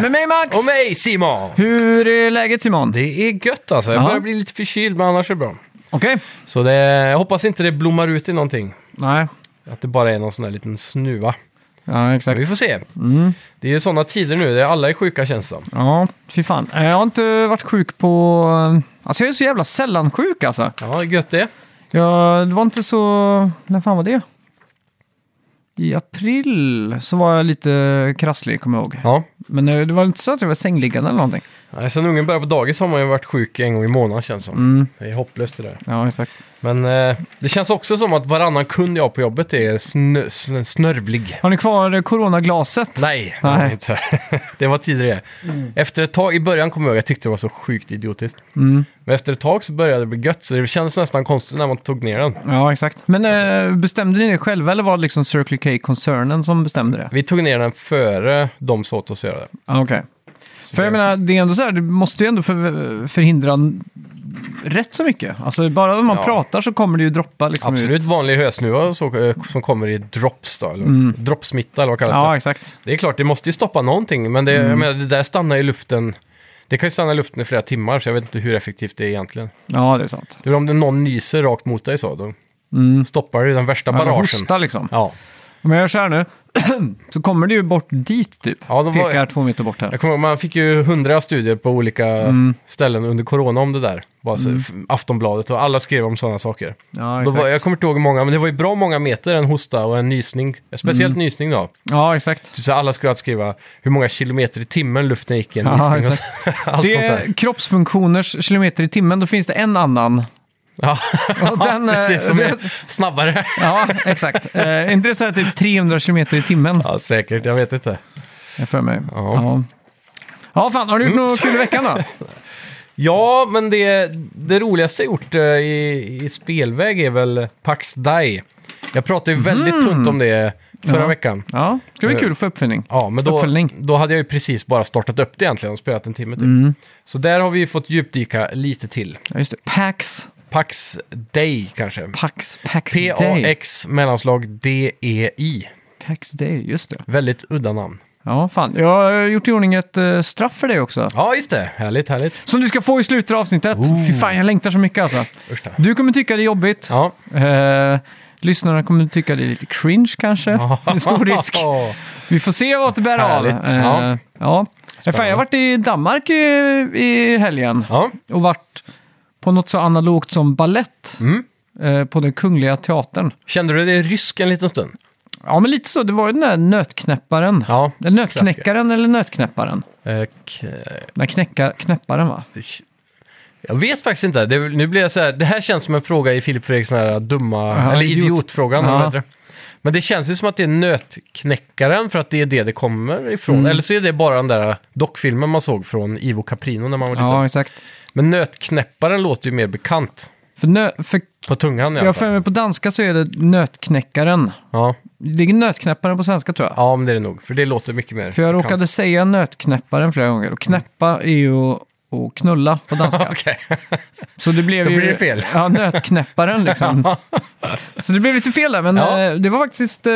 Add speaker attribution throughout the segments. Speaker 1: Med mig Max!
Speaker 2: Och mig Simon!
Speaker 1: Hur är läget Simon?
Speaker 2: Det är gött alltså. Jag
Speaker 1: Ja.
Speaker 2: börjar bli lite förkyld, men annars är det bra.
Speaker 1: Okej.
Speaker 2: Så det, jag hoppas inte det blommar ut i någonting.
Speaker 1: Nej.
Speaker 2: Att det bara är någon sån där liten snuva.
Speaker 1: Ja,
Speaker 2: Men
Speaker 1: exakt.
Speaker 2: vi får se. Det är ju sådana tider nu, där alla är sjuka känns det som.
Speaker 1: Mm. Ja, fy fan. Eh, Jag har inte varit sjuk på... Alltså jag är så jävla sällan sjuk alltså.
Speaker 2: Ja, gött det.
Speaker 1: Jag, det var inte så... När fan var det? I april så var jag lite krasslig, kommer jag ihåg.
Speaker 2: Ja.
Speaker 1: Men eh, det var inte så att jag var sängliggande eller någonting.
Speaker 2: Nej, sen ungen började på dagis har man ju varit sjuk en gång i månaden känns det som.
Speaker 1: Mm.
Speaker 2: Det är hopplöst det där.
Speaker 1: Ja, exakt.
Speaker 2: Men eh, det känns också som att varannan kund jag har på jobbet är snö, snö, snörvlig.
Speaker 1: Har ni kvar eh, coronaglaset?
Speaker 2: Nej,
Speaker 1: Nej.
Speaker 2: det var Inte. det var tidigare. Efter ett tag, i början kommer jag ihåg, jag tyckte det var så sjukt idiotiskt.
Speaker 1: Mm.
Speaker 2: Men efter ett tag så började det bli gött, så det kändes nästan konstigt när man tog ner den.
Speaker 1: Ja, exakt. Men eh, bestämde ni det själva eller var det liksom Circle K-koncernen som bestämde det?
Speaker 2: Vi tog ner den före de sa åt oss att göra det.
Speaker 1: Ja, Okej.
Speaker 2: Så
Speaker 1: För jag
Speaker 2: det-
Speaker 1: menar, det är ändå så här, det måste ju ändå för, förhindra n- rätt så mycket. Alltså bara när man
Speaker 2: Ja.
Speaker 1: pratar så kommer det ju droppa liksom ut.
Speaker 2: Absolut vanlig hösnuva och så, eh, som kommer i drops då, eller
Speaker 1: Mm.
Speaker 2: droppsmitta eller vad kallas det?
Speaker 1: Ja, Mm. exakt.
Speaker 2: Det är klart, det måste ju stoppa någonting, men det, jag menar, det där stannar i luften. Det kan ju stanna i luften i flera timmar, så jag vet inte hur effektivt det är egentligen.
Speaker 1: Ja, det är sant.
Speaker 2: Du, om det någon nyser rakt mot dig så, då
Speaker 1: Mm.
Speaker 2: stoppar du den värsta
Speaker 1: Ja,
Speaker 2: barragen.
Speaker 1: hosta liksom.
Speaker 2: Ja.
Speaker 1: Om jag gör så här nu, så kommer det ju bort dit typ.
Speaker 2: Ja, de var-
Speaker 1: Pekar två meter bort här.
Speaker 2: Jag kommer, ihåg, man fick ju hundra studier på olika
Speaker 1: Mm.
Speaker 2: ställen under corona om det där. Bara så, f- Aftonbladet och alla skrev om sådana saker.
Speaker 1: Ja,
Speaker 2: Då
Speaker 1: Mm. exakt.
Speaker 2: var, jag kommer inte ihåg hur många, men det var ju bra många meter en hosta och en nysning. Speciellt
Speaker 1: Mm.
Speaker 2: nysning då.
Speaker 1: Ja, exakt.
Speaker 2: Typ så här, alla skulle att skriva hur många kilometer i timmen luften gick i en
Speaker 1: Ja,
Speaker 2: nysning. Och så,
Speaker 1: exakt.
Speaker 2: allt
Speaker 1: det
Speaker 2: sånt där.
Speaker 1: är kroppsfunktioners kilometer i timmen, då finns det en annan.
Speaker 2: Ja,
Speaker 1: Och den, eh,
Speaker 2: precis. Som är
Speaker 1: den-
Speaker 2: snabbare.
Speaker 1: Ja, exakt. Eh, är inte det så här typ 300 kilometer i timmen?
Speaker 2: Ja, säkert. Jag vet inte.
Speaker 1: Jag för mig.
Speaker 2: Ja.
Speaker 1: ja. Ja, fan, har du gjort något kul i veckan då?
Speaker 2: Ja, men det, det roligaste jag gjort eh, i, i spelväg är väl Pax Dai. Jag pratade ju väldigt tunt om det förra
Speaker 1: Mm. Ja.
Speaker 2: veckan.
Speaker 1: Ja, det ska bli kul att få uppfinning.
Speaker 2: Eh. Ja, men då,
Speaker 1: Uppföljning.
Speaker 2: då hade jag ju precis bara startat upp det egentligen och spelat en timme typ.
Speaker 1: Mm.
Speaker 2: Så där har vi ju fått djupdyka lite till.
Speaker 1: Ja, just det. Pax,
Speaker 2: Pax Day kanske.
Speaker 1: Pax, Pax Day.
Speaker 2: P-A-X mellanslag D-E-I.
Speaker 1: Pax Day, just det.
Speaker 2: Väldigt udda namn.
Speaker 1: Ja, fan. Jag har gjort i ordning ett eh, straff för dig också.
Speaker 2: Ja, just det. Härligt, härligt.
Speaker 1: Som du ska få i slutet av avsnittet. Fy fan, jag längtar så mycket alltså.
Speaker 2: Usch då.
Speaker 1: Du kommer tycka det är jobbigt.
Speaker 2: Ja.
Speaker 1: Eh, lyssnarna kommer tycka det är lite cringe kanske. En stor risk. Vi får se vad det bär av.
Speaker 2: Härligt. Ja.
Speaker 1: Eh, ja. Fan, jag har varit i Danmark i, i helgen
Speaker 2: Ja,
Speaker 1: och varit på något så analogt som ballett
Speaker 2: Mm.
Speaker 1: eh, på den Kungliga Teatern.
Speaker 2: kände du dig rysk en liten stund?
Speaker 1: Ja, men lite så. Det var ju den där nötknäpparen.
Speaker 2: Ja.
Speaker 1: Eller nötknäckaren eller nötknäpparen?
Speaker 2: Eh, k-
Speaker 1: Nej, knäcka, knäpparen va?
Speaker 2: Jag vet faktiskt inte. Det, nu blir jag så här, det här känns som en fråga i Filip Fredriks sån här dumma,
Speaker 1: Ja,
Speaker 2: eller
Speaker 1: idiot.
Speaker 2: idiotfrågan. eller
Speaker 1: Ja.
Speaker 2: vad heter det? Men det känns ju som att det är nötknäckaren för att det är det det kommer ifrån.
Speaker 1: Mm.
Speaker 2: Eller så är det bara den där dockfilmen man såg från Ivo Caprino när man var liten.
Speaker 1: Ja, exakt.
Speaker 2: Men nötknäpparen låter ju mer bekant
Speaker 1: För, nö, för
Speaker 2: på tungan i alla
Speaker 1: jag för
Speaker 2: fall.
Speaker 1: mig på danska så är det nötknäckaren.
Speaker 2: Ja,
Speaker 1: Det ligger nötknäpparen på svenska tror jag.
Speaker 2: ja, men det är det nog. För det låter mycket mer
Speaker 1: För jag
Speaker 2: bekant.
Speaker 1: råkade säga nötknäpparen flera gånger och knäppa är ju att- att knulla på danska.
Speaker 2: Okej.
Speaker 1: Så det blev
Speaker 2: Då
Speaker 1: ju
Speaker 2: blir det fel.
Speaker 1: Ja, nötknäpparen liksom. så det blev lite fel där, men
Speaker 2: Ja.
Speaker 1: eh, det var faktiskt, eh,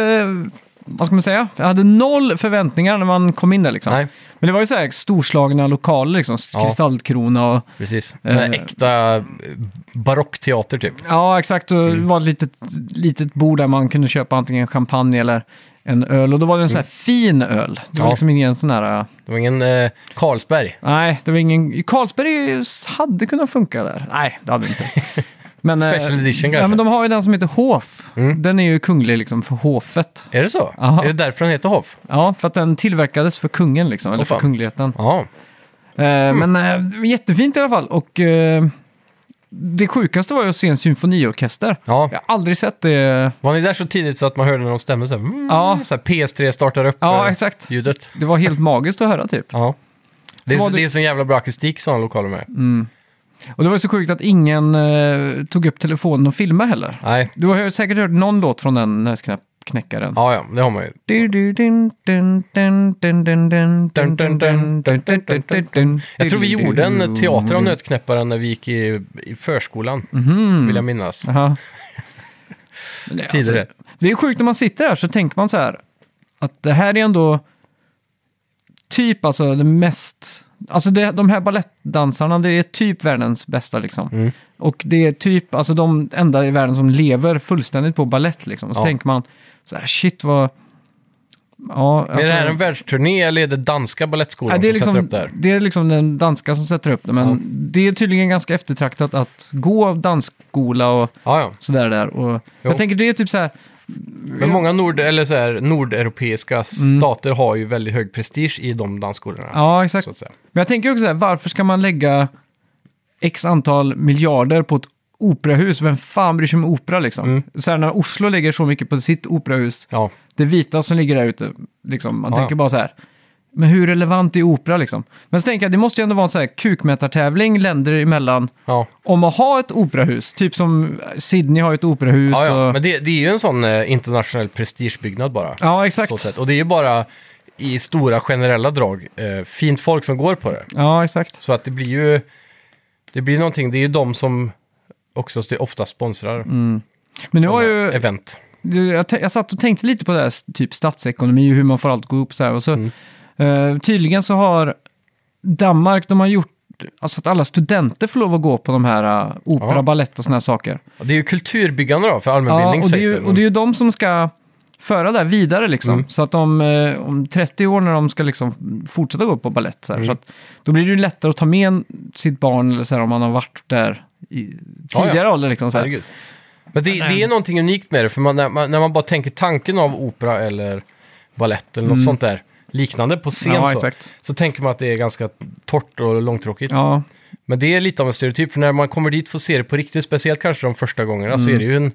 Speaker 1: vad ska man säga? Jag hade noll förväntningar när man kom in där liksom.
Speaker 2: Nej,
Speaker 1: Men det var ju så här storslagna lokaler liksom,
Speaker 2: Ja.
Speaker 1: kristallkrona och...
Speaker 2: precis. Den där
Speaker 1: Eh.
Speaker 2: äkta eh, barockteater typ.
Speaker 1: Ja, exakt. Och
Speaker 2: Mm.
Speaker 1: Det var ett litet, litet bord där man kunde köpa antingen champagne eller en öl. Och då var det en sån här fin öl. Det var
Speaker 2: Mm. Ja.
Speaker 1: liksom ingen sån här... äh,
Speaker 2: Det var ingen eh, Carlsberg.
Speaker 1: Nej, det var ingen... Carlsberg hade kunnat funka där. Nej, det hade det inte. Men, äh,
Speaker 2: Special edition
Speaker 1: Ja,
Speaker 2: kanske.
Speaker 1: men de har ju den som heter Hof.
Speaker 2: Mm.
Speaker 1: Den är ju kunglig liksom för hovet.
Speaker 2: Är det så?
Speaker 1: Aha.
Speaker 2: Är det därför den heter Hoff?
Speaker 1: Ja, för att den tillverkades för kungen liksom, eller
Speaker 2: Åh,
Speaker 1: för
Speaker 2: fan. Mm.
Speaker 1: kungligheten.
Speaker 2: Ja.
Speaker 1: Eh, Men äh, det var jättefint i alla fall. Och eh, det sjukaste var ju att se en symfoniorkester.
Speaker 2: ja.
Speaker 1: Jag har aldrig sett det
Speaker 2: Var ni där så tidigt så att man hörde när de stämde så här, mm,
Speaker 1: Ja.
Speaker 2: så här PS3 startar upp
Speaker 1: Ja,
Speaker 2: eh,
Speaker 1: exakt.
Speaker 2: ljudet?
Speaker 1: Det var helt magiskt att höra typ.
Speaker 2: Ja. Det är,
Speaker 1: Så var
Speaker 2: så
Speaker 1: det- Mm.
Speaker 2: det är så jävla bra akustik i sådana lokaler med.
Speaker 1: Och det var ju så sjukt att ingen eh, tog upp telefonen och filmade heller.
Speaker 2: Nej,
Speaker 1: Du har ju säkert hört någon låt från den nötknäckaren.
Speaker 2: ja, ja, det har man ju. Jag tror vi gjorde en teater av Nötknäpparen när vi gick i, i förskolan,
Speaker 1: Mhm.
Speaker 2: vill jag minnas.
Speaker 1: Jaha. Men det är alltså-
Speaker 2: Tidigare.
Speaker 1: Det är sjukt när man sitter här så tänker man så här att det här är ändå typ alltså det mest... Alltså det, de här ballettdansarna, det är typ världens bästa liksom.
Speaker 2: Mm.
Speaker 1: Och det är typ, alltså de enda i världen som lever fullständigt på ballett liksom. Och så
Speaker 2: Ja.
Speaker 1: tänker man, så här, shit vad... Ja,
Speaker 2: Men är det här en världsturné eller är det danska balettskolan
Speaker 1: Nej, alltså- det, är
Speaker 2: som sätter upp det
Speaker 1: liksom,
Speaker 2: här?
Speaker 1: det är liksom den danska som sätter upp det, men
Speaker 2: Ja.
Speaker 1: det är tydligen ganska eftertraktat att gå dansskola och
Speaker 2: Ja, ja.
Speaker 1: sådär där. Och
Speaker 2: Jo.
Speaker 1: jag tänker det är typ så här,
Speaker 2: Men många nord, eller så här, nordeuropeiska stater har ju väldigt hög prestige i de dansskolorna.
Speaker 1: Mm. ja exakt.
Speaker 2: Så att säga.
Speaker 1: Men jag tänker också så här, varför ska man lägga x antal miljarder på ett operahus? Vem fan bryr sig om opera liksom?
Speaker 2: Mm.
Speaker 1: Så här, när Oslo lägger så mycket på sitt operahus,
Speaker 2: Ja,
Speaker 1: det vita som ligger där ute, liksom, man
Speaker 2: Ja.
Speaker 1: tänker bara så här, men hur relevant är opera liksom? Men så tänker jag, det måste ju ändå vara en så här kukmätartävling länder emellan.
Speaker 2: ja.
Speaker 1: om att ha ett operahus, typ som Sydney har ett operahus.
Speaker 2: ja, ja.
Speaker 1: och...
Speaker 2: men det, det är ju en sån eh, internationell prestigebyggnad bara.
Speaker 1: ja exakt.
Speaker 2: Så sätt. Och det är ju bara i stora generella drag eh, fint folk som går på det.
Speaker 1: Ja, exakt.
Speaker 2: Så att det blir ju, det blir någonting, det är ju de som också st- ofta sponsrar
Speaker 1: Men nu
Speaker 2: såna
Speaker 1: har Mm. ju,
Speaker 2: event.
Speaker 1: jag, t- jag satt och tänkte lite på det här, typ statsekonomi och hur man får allt gå ihop så här. Och så,
Speaker 2: Mm.
Speaker 1: eh, tydligen så har Danmark, de har gjort alltså att alla studenter får lov att gå på de här uh, opera,
Speaker 2: Ja.
Speaker 1: balett och såna här saker.
Speaker 2: Och det är ju kulturbyggande då, för allmänbildning
Speaker 1: Ja, och, det är
Speaker 2: sägs
Speaker 1: ju, och det är ju de som ska föra det här vidare liksom.
Speaker 2: Mm.
Speaker 1: Så att de, eh, om 30 år när de ska liksom fortsätta gå på balett så, här,
Speaker 2: Mm.
Speaker 1: så att då blir det ju lättare att ta med en- sitt barn eller så här om man har varit där i
Speaker 2: Ja, ja.
Speaker 1: tidigare ålder liksom. Så här.
Speaker 2: Herregud. Men det, det är någonting unikt med det, för man, när, man, när man bara tänker tanken av opera eller ballett eller något sånt där liknande på scen
Speaker 1: Mm. Ja,
Speaker 2: så,
Speaker 1: exakt.
Speaker 2: så tänker man att det är ganska torrt och långtråkigt.
Speaker 1: Ja,
Speaker 2: Men det är lite av en stereotyp, för när man kommer dit får se det på riktigt, speciellt kanske de första gångerna, så är det ju en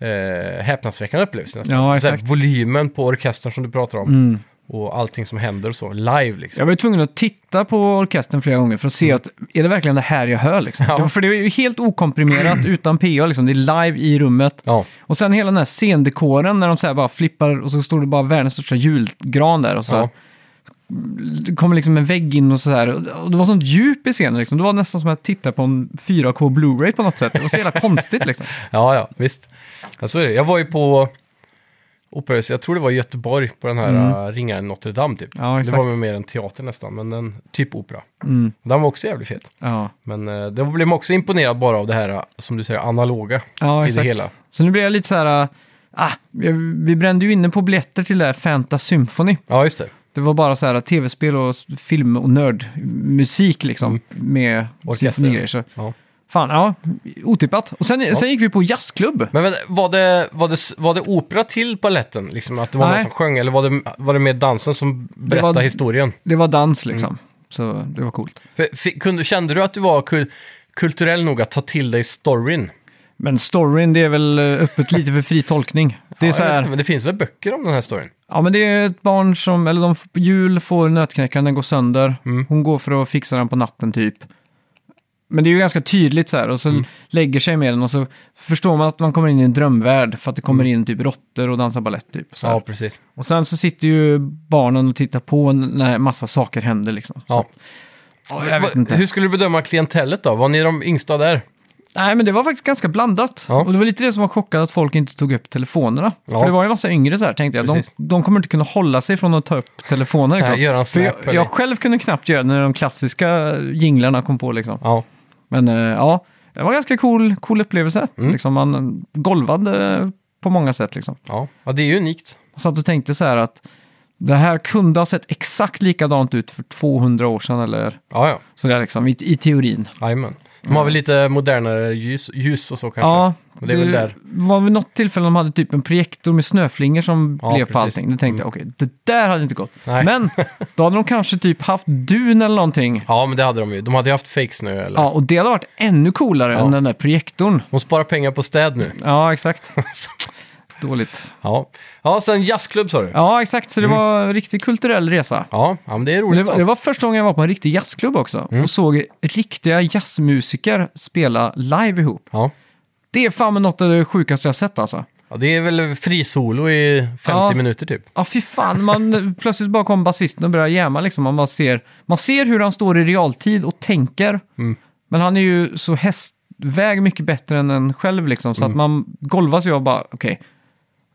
Speaker 2: eh, häpnadsväckande upplevelse nästan.
Speaker 1: Ja,
Speaker 2: Så här,
Speaker 1: exakt. Mm.
Speaker 2: volymen på orkestern som du pratar om och allting som händer och så, live liksom.
Speaker 1: jag var ju tvungen att titta på orkestern flera gånger för att se att är det verkligen det här jag hör liksom?
Speaker 2: Mm. Ja.
Speaker 1: Ja, För det är ju helt okomprimerat utan PA liksom, det är live i rummet.
Speaker 2: Ja,
Speaker 1: Och sen hela den här scendekoren när de så här bara flippar och så står det bara världens största julgran där och så här.
Speaker 2: ja.
Speaker 1: det kom liksom en vägg in och sådär. Och det var sånt djup i scenen liksom. Det var nästan som att titta på en 4K Blu-ray på något sätt. Det var så jävla konstigt liksom.
Speaker 2: ja, ja, visst. Ja, så är det. Jag var ju på operahuset, jag tror det var i Göteborg, på den här mm. Ringaren Notre Dame typ.
Speaker 1: Ja,
Speaker 2: det
Speaker 1: exakt.
Speaker 2: var väl mer en teater nästan, men en typ opera.
Speaker 1: Mm.
Speaker 2: Den var också jävligt fet.
Speaker 1: Ja,
Speaker 2: Men eh, det blev man också imponerad bara av det här, eh, som du säger, analoga
Speaker 1: ja
Speaker 2: i det
Speaker 1: exakt.
Speaker 2: hela.
Speaker 1: Så nu blir jag lite så här... äh, Ah, vi- vi brände ju inne på biljetter till det här Fanta Symphony.
Speaker 2: Ja, just det.
Speaker 1: Det var bara så här tv-spel och s- film och nördmusik liksom. Med
Speaker 2: Mm. Orkester.
Speaker 1: symfonigrejer. Så.
Speaker 2: Ja.
Speaker 1: Fan, ja. Otippat. Och sen, sen gick vi på jazzklubb.
Speaker 2: Men vänta, var det, var det, var det opera till balletten? Liksom, att det var
Speaker 1: Nej.
Speaker 2: någon som sjöng? Eller var det, var det mer dansen som berättade
Speaker 1: var-
Speaker 2: historien?
Speaker 1: Det var dans liksom.
Speaker 2: Mm.
Speaker 1: Så det var coolt.
Speaker 2: För, fi- kunde, kände du att du var kul, kulturell nog att ta till dig storyn?
Speaker 1: Men storyn, det är väl eh, öppet lite för fri tolkning. Det är
Speaker 2: Ja,
Speaker 1: så
Speaker 2: jag vet
Speaker 1: här...
Speaker 2: inte, men det finns väl böcker om den här storyn?
Speaker 1: Ja, men det är ett barn som, eller de på jul får nötknäckaren, den går sönder.
Speaker 2: Mm.
Speaker 1: Hon går för att fixa den på natten typ. Men det är ju ganska tydligt så här och så
Speaker 2: Mm.
Speaker 1: lägger sig med den och så förstår man att man kommer in i en drömvärld för att det kommer in typ råttor och dansar balett typ. Så här.
Speaker 2: Mm. Ja, precis.
Speaker 1: Och sen så sitter ju barnen och tittar på när massa saker händer liksom. Så,
Speaker 2: Ja.
Speaker 1: ja, jag vet
Speaker 2: Va-
Speaker 1: inte.
Speaker 2: Hur skulle du bedöma klientellet då? Var ni de yngsta där?
Speaker 1: Nej, men det var faktiskt ganska blandat.
Speaker 2: Ja.
Speaker 1: Och det var lite det som var chockad att folk inte tog upp telefonerna.
Speaker 2: Ja.
Speaker 1: För det var ju en massa yngre så här, tänkte jag. De,
Speaker 2: Precis.
Speaker 1: de kommer inte kunna hålla sig från att ta upp telefoner. Liksom.
Speaker 2: Nej, göra en
Speaker 1: För
Speaker 2: snap
Speaker 1: jag,
Speaker 2: Äh, eller-
Speaker 1: jag själv kunde knappt göra det när de klassiska jinglarna kom på. Liksom.
Speaker 2: Ja.
Speaker 1: Men eh, ja, det var en ganska cool, cool upplevelse.
Speaker 2: Mm.
Speaker 1: Liksom, man golvade på många sätt. Liksom.
Speaker 2: Ja. ja, det är ju unikt.
Speaker 1: Jag satt och tänkte så här att det här kunde ha sett exakt likadant ut för 200 år sedan. Eller
Speaker 2: Ja, ja.
Speaker 1: sådär, liksom, i, i teorin.
Speaker 2: Jajamän. De har väl lite modernare ljus, ljus och så kanske?
Speaker 1: Ja,
Speaker 2: Och det är väl där.
Speaker 1: var vid något tillfälle de hade typ en projektor med snöflingor som
Speaker 2: Ja,
Speaker 1: blev på
Speaker 2: precis. Mm.
Speaker 1: allting. Då tänkte jag, okej, det där hade inte gått.
Speaker 2: Nej.
Speaker 1: Men då hade de kanske typ haft dun eller någonting.
Speaker 2: Ja, men det hade de ju. De hade ju haft fake snö eller?
Speaker 1: Ja, och det hade varit ännu coolare
Speaker 2: Ja.
Speaker 1: än den där projektorn.
Speaker 2: De sparar pengar på städ nu.
Speaker 1: Ja, exakt. Dåligt.
Speaker 2: Ja, ja sen jazzklubb sa du?
Speaker 1: Ja, exakt. Så det var en riktig kulturell resa.
Speaker 2: Ja, ja men det är
Speaker 1: Men Det
Speaker 2: roligt.
Speaker 1: var,
Speaker 2: sånt.
Speaker 1: det var första gången jag var på en riktig jazzklubb också och såg riktiga jazzmusiker spela live ihop.
Speaker 2: Ja.
Speaker 1: Det är fan med något av det sjukaste jag sett alltså.
Speaker 2: ja, det är väl frisolo i 50
Speaker 1: Ja.
Speaker 2: minuter typ.
Speaker 1: Ja, fy fan. Man, plötsligt bara kommer basisten och börjar jäma. Liksom. Man, bara ser, man ser hur han står i realtid och tänker.
Speaker 2: Mm.
Speaker 1: Men han är ju så
Speaker 2: Mm.
Speaker 1: hästväg mycket bättre än en själv. Liksom, så att man golvas ju av bara, okej,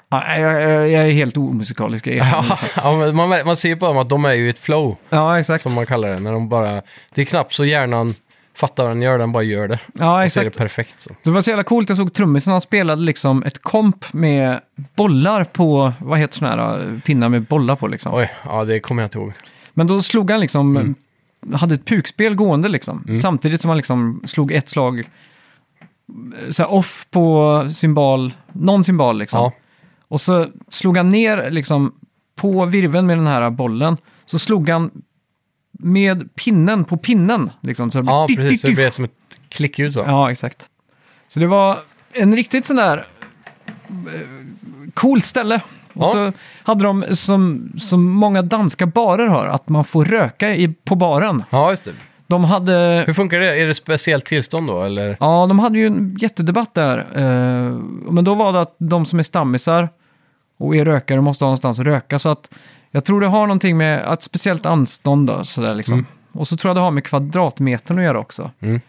Speaker 1: Ja, jag, jag, jag är helt omusikalisk. Jag är
Speaker 2: Ja, men man, man ser ju på dem att de är ju i ett flow,
Speaker 1: ja, exakt.
Speaker 2: som man kallar det. När de bara, det är knappt så hjärnan fattar vad den gör, den bara gör det.
Speaker 1: Ja,
Speaker 2: Och så är det
Speaker 1: exakt.
Speaker 2: perfekt. Så.
Speaker 1: Så det var så jävla coolt, jag såg trummisen, han spelade liksom ett komp med bollar på, vad heter sådana här, eh, pinnar med bollar på liksom.
Speaker 2: Oj, ja det kommer jag inte ihåg.
Speaker 1: Men då slog han liksom,
Speaker 2: Mm.
Speaker 1: hade ett pukspel gående liksom. Samtidigt som han liksom slog ett slag eh, så här off på symbol, någon symbol liksom.
Speaker 2: Ja,
Speaker 1: Och så slog han ner liksom på virveln med den här bollen. Så slog han med pinnen på pinnen. Liksom, så det
Speaker 2: ja
Speaker 1: blev tiff,
Speaker 2: precis. Det
Speaker 1: tiff.
Speaker 2: blir som ett klickljud så.
Speaker 1: Ja, exakt. Så det var en riktigt sån där eh, coolt ställe. Och
Speaker 2: Ja.
Speaker 1: så hade de, som, som många danska barer har, att man får röka i, på baren.
Speaker 2: Ja, just det.
Speaker 1: De hade,
Speaker 2: Hur funkar det? Är det speciellt tillstånd då, eller?
Speaker 1: ja, de hade ju en jättedebatt där. Eh, men då var det att de som är stammisar och är rökare måste ha någonstans att röka. Så att jag tror det har någonting med att speciellt anstånd då, sådär liksom. Och så tror jag det har med kvadratmetern att göra också.
Speaker 2: Mm.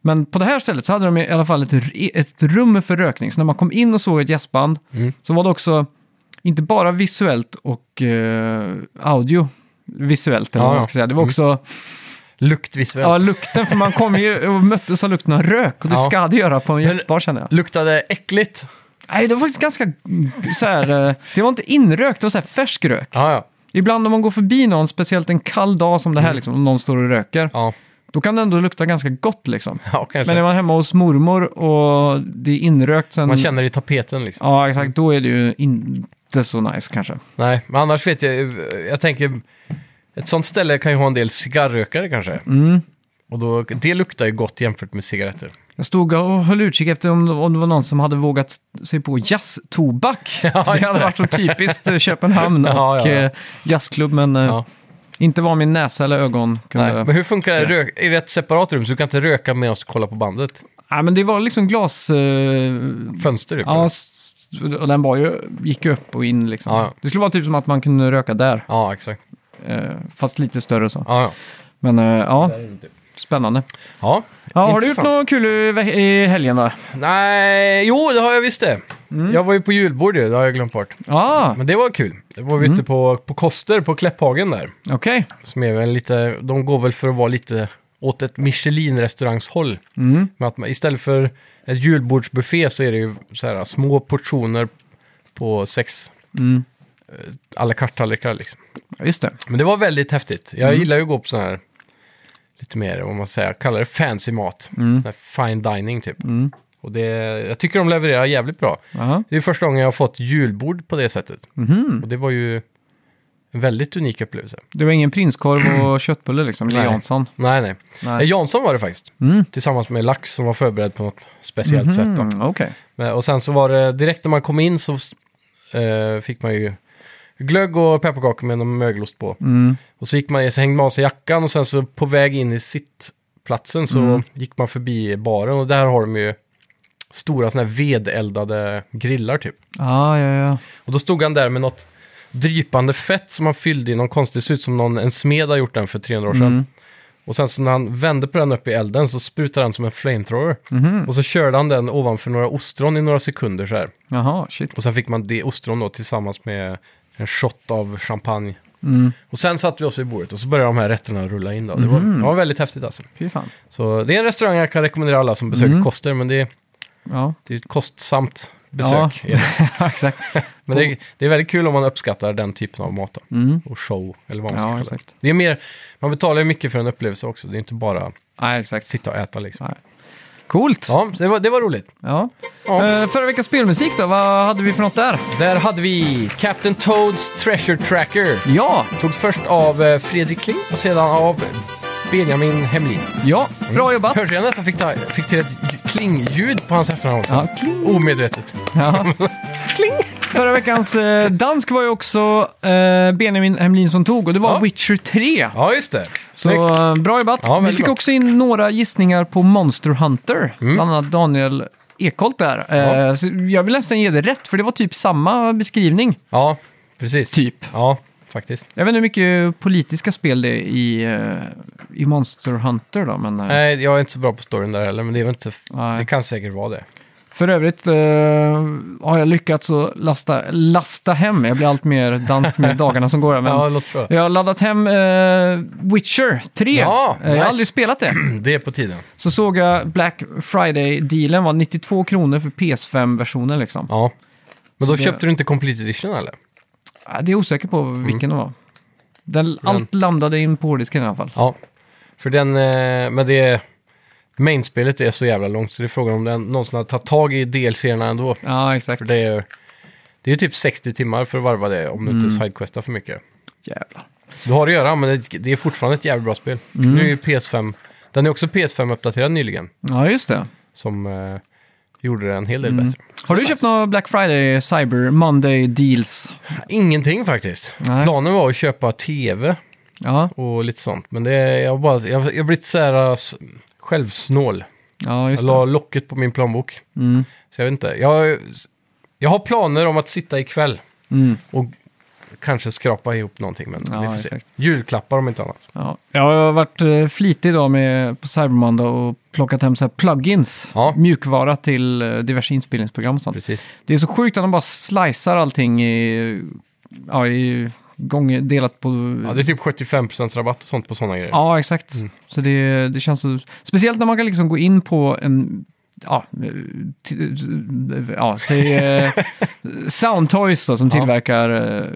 Speaker 1: Men på det här stället så hade de i alla fall ett, r- ett rum för rökning. Så när man kom in och såg ett jazzband
Speaker 2: Mm.
Speaker 1: så var det också inte bara visuellt och eh, audio visuellt. Eller
Speaker 2: Ja,
Speaker 1: vad man
Speaker 2: ja.
Speaker 1: ska säga. Det var
Speaker 2: Mm.
Speaker 1: också
Speaker 2: Luktvis
Speaker 1: ja, lukten, för man kom ju och möttes av lukten av rök och det
Speaker 2: Ja.
Speaker 1: ska det göra på en
Speaker 2: Men-
Speaker 1: jazzbar känner jag.
Speaker 2: Luktade äckligt?
Speaker 1: Nej, det var faktiskt ganska mm, så här, eh, det var inte inrökt, det var så här färsk rök.
Speaker 2: Ja, ja.
Speaker 1: Ibland om man går förbi någon, speciellt en kall dag som det
Speaker 2: Mm.
Speaker 1: här, liksom, om någon står och röker,
Speaker 2: Ja,
Speaker 1: då kan det ändå lukta ganska gott liksom.
Speaker 2: ja kanske.
Speaker 1: Men är man hemma hos mormor och det är inrökt sen...
Speaker 2: Man känner det i tapeten liksom.
Speaker 1: Ja, exakt. Då är det ju inte så nice kanske.
Speaker 2: Nej, men annars vet jag, jag tänker, ett sånt ställe kan ju ha en del cigarrökare kanske.
Speaker 1: Mm.
Speaker 2: Och då, det luktar ju gott jämfört med cigaretter.
Speaker 1: Jag stod och höll utkik efter om, om det var någon som hade vågat sig på jazztobak. det
Speaker 2: just
Speaker 1: hade
Speaker 2: det.
Speaker 1: varit så typiskt eh, Köpenhamn och
Speaker 2: Ja, ja, ja.
Speaker 1: eh, jazzklubb, men eh,
Speaker 2: Ja.
Speaker 1: inte var min näsa eller ögon kunde...
Speaker 2: Nej.
Speaker 1: Nej,
Speaker 2: Men
Speaker 1: men,
Speaker 2: hur funkar det?
Speaker 1: Så-
Speaker 2: Rök, är det ett separat rum så du kan inte röka medan du kollar på bandet?
Speaker 1: det var liksom glas... Eh,
Speaker 2: Fönster typ?
Speaker 1: ja,
Speaker 2: eller?
Speaker 1: s- och den var ju, gick ju upp och in liksom.
Speaker 2: Ja.
Speaker 1: Det skulle vara typ som att man kunde röka där,
Speaker 2: ja exakt.
Speaker 1: eh, fast lite större och så.
Speaker 2: Ja, ja.
Speaker 1: Men eh, ja, spännande.
Speaker 2: ja.
Speaker 1: Ja, har du gjort
Speaker 2: Intressant.
Speaker 1: något kul i, ve- i helgen då?
Speaker 2: Nej, jo det har jag visst det.
Speaker 1: Mm.
Speaker 2: Jag var ju på julbord ju, det har jag glömt bort.
Speaker 1: Ja,
Speaker 2: Men det var kul. Det var vi
Speaker 1: Mm.
Speaker 2: ute på, på Koster på Kläpphagen där.
Speaker 1: okej.
Speaker 2: Som är väl lite, de går väl för att vara lite åt ett Michelin-restaurangshåll.
Speaker 1: Mm.
Speaker 2: Men att man, istället för ett julbordsbuffé så är det ju så här små portioner på sex eh,
Speaker 1: Mm.
Speaker 2: à la carte-tallrikar liksom.
Speaker 1: Ja, Just det.
Speaker 2: Men det var väldigt häftigt.
Speaker 1: Mm.
Speaker 2: Jag gillar ju att gå på sådana här, lite mer, vad man säger, kallar det fancy mat. Sån här fine dining typ.
Speaker 1: Mm.
Speaker 2: Och det, jag tycker de levererar jävligt bra.
Speaker 1: Aha.
Speaker 2: Det är första gången jag har fått julbord på det sättet.
Speaker 1: Mhm.
Speaker 2: Och det var ju en väldigt unik upplevelse.
Speaker 1: Det var ingen prinskorv och köttbulle liksom, eller
Speaker 2: Nej.
Speaker 1: Jansson.
Speaker 2: Nej, nej.
Speaker 1: Nej.
Speaker 2: Eh, Jansson var det faktiskt.
Speaker 1: Mm.
Speaker 2: Tillsammans med Lax som var förberedd på något speciellt sätt. Då.
Speaker 1: Mm, Okej.
Speaker 2: Men, Eh, och sen så var det, direkt när man kom in så eh, fick man ju glögg och pepparkakor med någon mögelost på.
Speaker 1: Mm.
Speaker 2: Och så, gick man, så hängde man av sig jackan och sen så på väg in i sittplatsen så
Speaker 1: Mm.
Speaker 2: gick man förbi baren och där har de ju stora sådana här vedeldade grillar typ.
Speaker 1: Ah, ja, ja.
Speaker 2: Och då stod han där med något drypande fett som han fyllde i någon konstig, det ser ut som någon, en smed har gjort den för 300 år sedan.
Speaker 1: Mm.
Speaker 2: Och sen så när han vände på den upp i elden så sprutade han som en flamethrower.
Speaker 1: Mhm.
Speaker 2: Och så körde han den ovanför några ostron i några sekunder så här.
Speaker 1: Jaha, shit.
Speaker 2: Och sen fick man det ostron då tillsammans med en shot av champagne.
Speaker 1: Mm.
Speaker 2: Och sen satt vi oss vid bordet och så började de här rätterna rulla in. Då. Det, var,
Speaker 1: Mhm.
Speaker 2: det var väldigt häftigt alltså.
Speaker 1: Fy fan.
Speaker 2: Så det är en restaurang jag kan rekommendera alla som besöker
Speaker 1: Mm.
Speaker 2: Koster, men det är,
Speaker 1: Ja,
Speaker 2: det är ett kostsamt besök. är det.
Speaker 1: exakt.
Speaker 2: Men det är, det är väldigt kul om man uppskattar den typen av mat då.
Speaker 1: Mm.
Speaker 2: och show, eller vad man ska
Speaker 1: Ja,
Speaker 2: kalla det.
Speaker 1: exakt.
Speaker 2: Det är mer, man betalar ju mycket för en upplevelse också, det är inte bara
Speaker 1: Nej, exakt.
Speaker 2: sitta och äta liksom.
Speaker 1: Coolt. Ja.
Speaker 2: Ja, så det var, det var roligt. Ja.
Speaker 1: Eh, förra veckans spelmusik då, vad hade vi för något där?
Speaker 2: Där hade vi Captain Toads Treasure Tracker.
Speaker 1: Ja,
Speaker 2: Togs först av eh, Fredrik Kling och sedan av Benjamin Hemlin.
Speaker 1: ja, bra jobbat.
Speaker 2: Hörde jag nästan fick, ta, fick till ett lj- klingljud på hans efternamn också.
Speaker 1: Ja, kling.
Speaker 2: Omedvetet.
Speaker 1: Ja. Förra veckans eh, dansk var ju också eh, Benjamin Hemlin som tog och det var
Speaker 2: Ja.
Speaker 1: Witcher 3.
Speaker 2: Ja, just det.
Speaker 1: Så
Speaker 2: Snyggt.
Speaker 1: eh, bra jobbat.
Speaker 2: Ja,
Speaker 1: vi
Speaker 2: väldigt
Speaker 1: fick
Speaker 2: bra.
Speaker 1: också in några gissningar på Monster Hunter,
Speaker 2: Mm.
Speaker 1: bland annat Daniel Ekholt där.
Speaker 2: Ja.
Speaker 1: Eh, så jag vill nästan ge det rätt, för det var typ samma beskrivning.
Speaker 2: Ja, precis.
Speaker 1: Typ.
Speaker 2: Ja, faktiskt.
Speaker 1: Jag vet inte hur mycket politiska spel det är i, eh, i Monster Hunter då, men... eh,
Speaker 2: Nej, jag är inte så bra på storyn där heller, men det, är väl inte,
Speaker 1: Nej.
Speaker 2: det kan säkert vara det.
Speaker 1: För övrigt eh, har jag lyckats att lasta, lasta hem, jag blir allt mer dansk med dagarna som går. här, Men
Speaker 2: Ja, det låter bra.
Speaker 1: Jag har laddat hem eh, Witcher 3.
Speaker 2: Ja,
Speaker 1: Eh, Jag
Speaker 2: nice.
Speaker 1: har aldrig spelat det.
Speaker 2: Det är på tiden.
Speaker 1: Så såg jag Black Friday-dealen var 92 kronor för PS5-versionen liksom.
Speaker 2: Ja. Men då
Speaker 1: det-
Speaker 2: köpte du inte Complete Edition eller?
Speaker 1: Ja. Det är jag osäker på
Speaker 2: Mm.
Speaker 1: vilken det var. Den, allt landade in på hårddisken i alla fall.
Speaker 2: Ja. För den, eh, men det... Mainspelet är så jävla långt så det är frågan om den någonsin har tagit tag i DLC-erna ändå.
Speaker 1: Ja, exakt.
Speaker 2: För det är det är ju typ 60 timmar för att varva det om du inte sidequestar för mycket.
Speaker 1: Jävlar.
Speaker 2: Så du har att göra, men det, det är fortfarande ett jävligt bra spel. Nu är ju PS5, den är också PS5-uppdaterad nyligen,
Speaker 1: Ja, just det.
Speaker 2: som eh, gjorde det en hel del bättre.
Speaker 1: Har du köpt några Black Friday Cyber Monday deals?
Speaker 2: Ingenting faktiskt.
Speaker 1: Nej.
Speaker 2: Planen var att köpa tv
Speaker 1: Ja,
Speaker 2: och lite sånt, men det, jag har bara, jag, jag har blivit så här eh, s- självsnål.
Speaker 1: ja
Speaker 2: Jag
Speaker 1: just det.
Speaker 2: la locket på min planbok,
Speaker 1: Mm.
Speaker 2: så jag vet inte. Jag, jag har planer om att sitta ikväll
Speaker 1: Mm.
Speaker 2: och kanske skrapa ihop någonting, men
Speaker 1: Ja,
Speaker 2: vi får se.
Speaker 1: exakt.
Speaker 2: Julklappar om inte annat.
Speaker 1: Ja. Jag har varit eh, flitig idag med, på Cyber Monday och plockat hem så här plugins,
Speaker 2: Ja.
Speaker 1: mjukvara till eh, diverse inspelningsprogram och sånt.
Speaker 2: Precis.
Speaker 1: Det är så sjukt att de bara slicear allting i, ja, i gång, delat på...
Speaker 2: Ja, det är typ 75% rabatt och sånt på sådana grejer.
Speaker 1: Ja, exakt.
Speaker 2: Mm.
Speaker 1: Så det, det känns så... Speciellt när man kan liksom gå in på en... Ja, eh, t- ja säg eh, Soundtoys då som
Speaker 2: Ja.
Speaker 1: tillverkar... eh,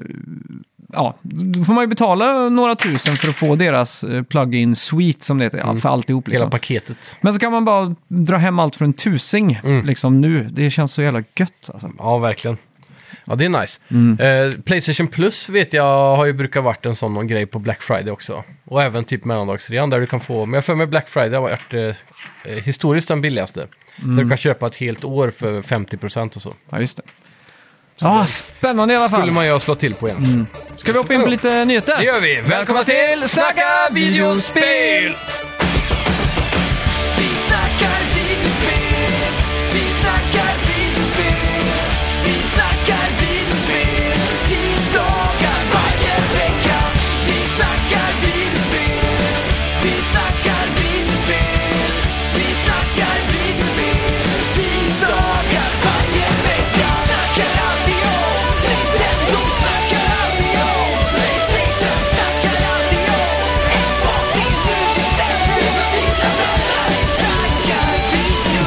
Speaker 1: Ja, då får man ju betala några tusen för att få deras eh, plug-in suite som det heter, ja, för alltihop
Speaker 2: Mm. Hela
Speaker 1: liksom.
Speaker 2: paketet.
Speaker 1: Men så kan man bara dra hem allt för en tusing
Speaker 2: Mm.
Speaker 1: liksom nu. Det känns så jävla gött alltså.
Speaker 2: Ja, verkligen. Ja, det är nice.
Speaker 1: Mm.
Speaker 2: Eh, Playstation Plus vet jag har ju brukat varit en sån någon grej på Black Friday också. Och även typ mellandagsrean där du kan få, men jag får med Black Friday har varit eh, eh, historiskt den billigaste.
Speaker 1: Mm.
Speaker 2: Där du kan köpa ett helt år för 50% och så.
Speaker 1: Ja, just det. Ja, spännande i alla
Speaker 2: skulle
Speaker 1: fall.
Speaker 2: man ju slå till på igen.
Speaker 1: Ska vi hoppa in på lite nyheter?
Speaker 2: Det gör vi! Välkomna till Snacka videospel!
Speaker 3: Vi snackar videospel, vi snackar videospel, vi snackar videospel, tisdagar varje vecka. Vi snackar videospel, vi snackar videospel, vi snackar videospel, tisdagar varje vecka. Snackar alltid om Nintendo, snackar alltid om Playstation, snackar alltid om Xbox, det är nu vi sätter igång. Vi snackar video.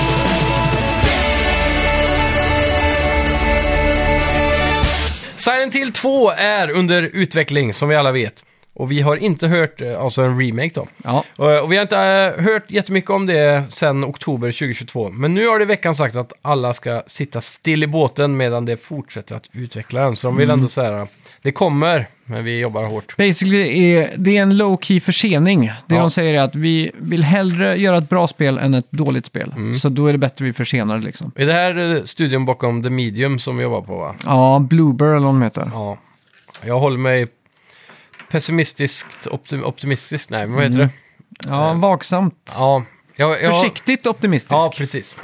Speaker 2: Silent Hill 2 är under utveckling, som vi alla vet. Och vi har inte hört, eh, alltså en remake då.
Speaker 1: Ja.
Speaker 2: Och och vi har inte eh, hört jättemycket om det sedan oktober 2022. Men nu har det i veckan sagt att alla ska sitta still i båten medan det fortsätter att utveckla den. Så de vill ändå säga, det kommer, men vi jobbar hårt.
Speaker 1: Basically är det är en low key försening. Det
Speaker 2: Ja.
Speaker 1: de säger är att vi vill hellre göra ett bra spel än ett dåligt spel.
Speaker 2: Mm.
Speaker 1: Så då är det bättre vi försenar det liksom.
Speaker 2: Är det här eh, studion bakom The Medium som vi jobbar på va?
Speaker 1: Ja, Bluebird eller vad de heter.
Speaker 2: Ja. Jag håller mig pessimistiskt, optim- optimistiskt, nej men vad heter det?
Speaker 1: Ja, Eh, vaksamt.
Speaker 2: Ja. Jag, jag,
Speaker 1: Försiktigt optimistisk.
Speaker 2: Ja, precis.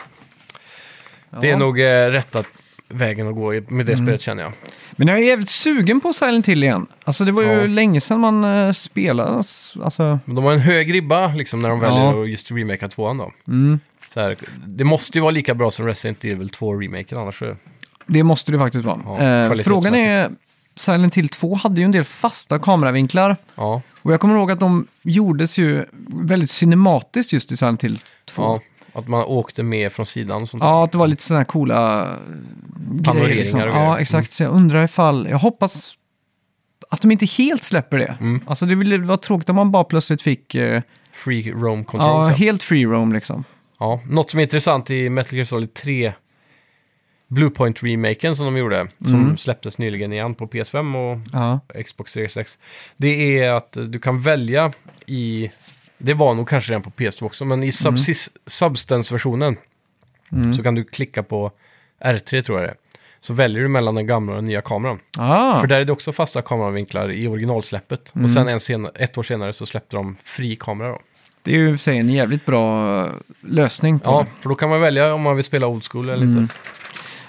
Speaker 2: Det är
Speaker 1: Ja. Mm.
Speaker 2: nog eh, rätta vägen att gå i- med det spelet känner jag.
Speaker 1: Men jag är jävligt sugen på Silent Hill igen. Alltså det var ju
Speaker 2: Ja.
Speaker 1: länge sedan man eh, spelade. Alltså,
Speaker 2: Men de har en hög ribba liksom när de
Speaker 1: Ja.
Speaker 2: väljer att just remakea tvåan då.
Speaker 1: mm.
Speaker 2: Så här, det måste ju vara lika bra som Resident Evil 2-remaken annars. är-
Speaker 1: Det måste det faktiskt vara.
Speaker 2: Ja,
Speaker 1: eh,
Speaker 2: kvalitetsmässigt.
Speaker 1: frågan är, Silent Hill 2 hade ju en del fasta kameravinklar.
Speaker 2: Ja,
Speaker 1: Och jag kommer ihåg att de gjordes ju väldigt cinematiskt just i Silent Hill 2.
Speaker 2: ja,
Speaker 1: Ja,
Speaker 2: att man åkte med från sidan och sånt.
Speaker 1: att det var lite sådana här coola eh,
Speaker 2: Panoreringar
Speaker 1: grejer. Liksom.
Speaker 2: och grejer. Mm.
Speaker 1: Ja, exakt. Så jag undrar ifall, jag hoppas att de inte helt släpper det.
Speaker 2: Mm.
Speaker 1: Alltså det ville vara tråkigt om man bara plötsligt fick eh,
Speaker 2: Free roam
Speaker 1: ja,
Speaker 2: control. Ja,
Speaker 1: helt free roam liksom.
Speaker 2: ja. Något som är intressant i Metal Gear Solid 3 Bluepoint-remaken som de gjorde,
Speaker 1: Mm.
Speaker 2: som släpptes nyligen igen på PS5 och
Speaker 1: Ja,
Speaker 2: Xbox Series X. Det är att du kan välja i, det var nog kanske redan på PS2 också,
Speaker 1: Mm.
Speaker 2: men i subsis, substance-versionen så kan du klicka på R3 tror jag det är. Så väljer du mellan den gamla och den nya kameran.
Speaker 1: ah,
Speaker 2: För där är det också fasta kameravinklar i originalsläppet.
Speaker 1: Mm.
Speaker 2: Och sen en sen, ett år senare så släppte de fri kamera då.
Speaker 1: det är ju i och för sig en jävligt bra eh, lösning på
Speaker 2: Ja,
Speaker 1: det. Mm.
Speaker 2: för då kan man välja om man vill spela old school eller inte.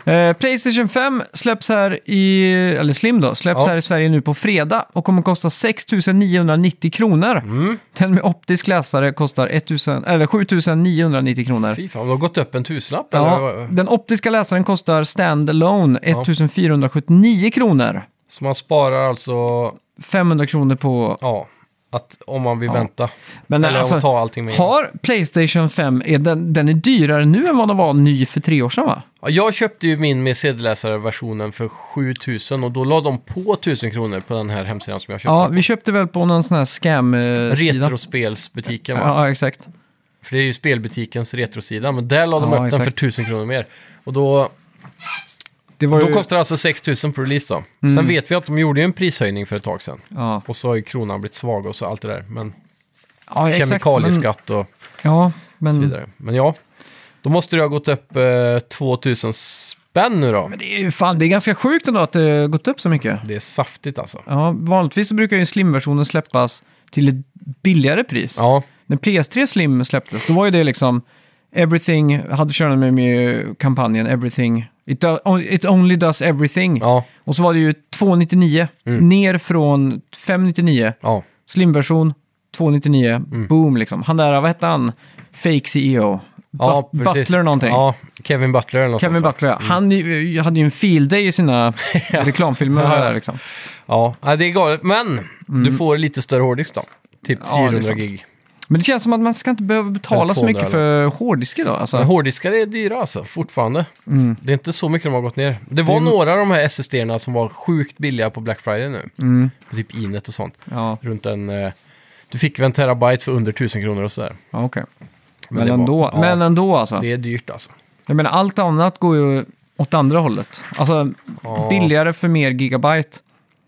Speaker 1: Eh, Playstation 5 släpps här i, eller Slim då, släpps
Speaker 2: Ja.
Speaker 1: här i Sverige nu på fredag och kommer kosta 6 990 kronor.
Speaker 2: Mm.
Speaker 1: Den med optisk läsare kostar 1000, eller 7 990 kronor.
Speaker 2: Fy fan, det har gått upp en tusenlapp
Speaker 1: Ja,
Speaker 2: eller?
Speaker 1: den optiska läsaren kostar standalone 1479 kronor.
Speaker 2: Så man sparar alltså,
Speaker 1: 500 kronor på...
Speaker 2: ja, att om man vill
Speaker 1: Ja.
Speaker 2: vänta.
Speaker 1: Men
Speaker 2: eller
Speaker 1: alltså,
Speaker 2: att ta allting med.
Speaker 1: har Playstation 5, är den, den är dyrare nu än vad den var ny för tre år sedan va?
Speaker 2: Ja, Jag köpte ju min med CD-läsare-versionen för 7000 och då la de på 1000 kronor på den här hemsidan som jag köpte.
Speaker 1: Ja, vi köpte väl på någon sån här scam-sida.
Speaker 2: Retrospelsbutiken va?
Speaker 1: Ja, exakt.
Speaker 2: För det är ju spelbutikens retrosida, men där la de
Speaker 1: Ja,
Speaker 2: upp den
Speaker 1: exakt.
Speaker 2: för 1000 kronor mer. Och då,
Speaker 1: Det Mm. var
Speaker 2: då
Speaker 1: ju-
Speaker 2: kostar det alltså 6000 på release då. Sen vet vi att de gjorde ju en prishöjning för ett tag sedan.
Speaker 1: Ja,
Speaker 2: Och så har ju kronan blivit svag och så allt det där. Men
Speaker 1: ja exakt.
Speaker 2: kemikalieskatt och
Speaker 1: Men, ja,
Speaker 2: så
Speaker 1: men,
Speaker 2: vidare. Men ja, då måste det ha gått upp eh, 2000 spänn nu då.
Speaker 1: men det är ju fan, det är ganska sjukt ändå att det har gått upp så mycket.
Speaker 2: Det är saftigt alltså.
Speaker 1: Ja, vanligtvis så brukar ju slimversionen släppas till ett billigare pris.
Speaker 2: Ja,
Speaker 1: När PS3 Slim släpptes, då var ju det liksom Everything, hade kört med, med kampanjen Everything. It, do, it only does everything.
Speaker 2: ja, Mm.
Speaker 1: Och så var det ju 299, ner från 599.
Speaker 2: ja.
Speaker 1: Slimversion 299,
Speaker 2: Mm.
Speaker 1: boom liksom. Han där, vad hette han? Fake CEO.
Speaker 2: ja
Speaker 1: But-
Speaker 2: precis.
Speaker 1: Butler någonting.
Speaker 2: Ja, Kevin Butler eller något
Speaker 1: Kevin
Speaker 2: sånt. va?
Speaker 1: Butler, ja. Han ju- hade ju en field day i sina reklamfilmer.
Speaker 2: Ja, ja.
Speaker 1: Där, liksom.
Speaker 2: Ja, nej, det är galet. Men du får lite större hårddisk då. Typ
Speaker 1: Mm. Ja, det är
Speaker 2: 400
Speaker 1: sant.
Speaker 2: gig.
Speaker 1: Men det känns som att man ska inte behöva betala så
Speaker 2: 200
Speaker 1: mycket för hårddisk idag. Alltså.
Speaker 2: liksom. Men hårddiskar är dyra alltså, fortfarande.
Speaker 1: Mm.
Speaker 2: Det är inte så mycket de har gått ner. Det var några av de här SSD-erna som var sjukt billiga på Black Friday nu.
Speaker 1: Mm.
Speaker 2: På typ Inet och sånt.
Speaker 1: Ja,
Speaker 2: Runt en... eh, Du fick väl en terabyte för under 1000 kronor och sådär.
Speaker 1: ja, okej.
Speaker 2: Men
Speaker 1: Men,
Speaker 2: det var-
Speaker 1: ändå,
Speaker 2: ja.
Speaker 1: men ändå alltså.
Speaker 2: Det är dyrt alltså.
Speaker 1: Jag menar, allt annat går ju åt andra hållet. Alltså,
Speaker 2: Ja.
Speaker 1: billigare för mer gigabyte.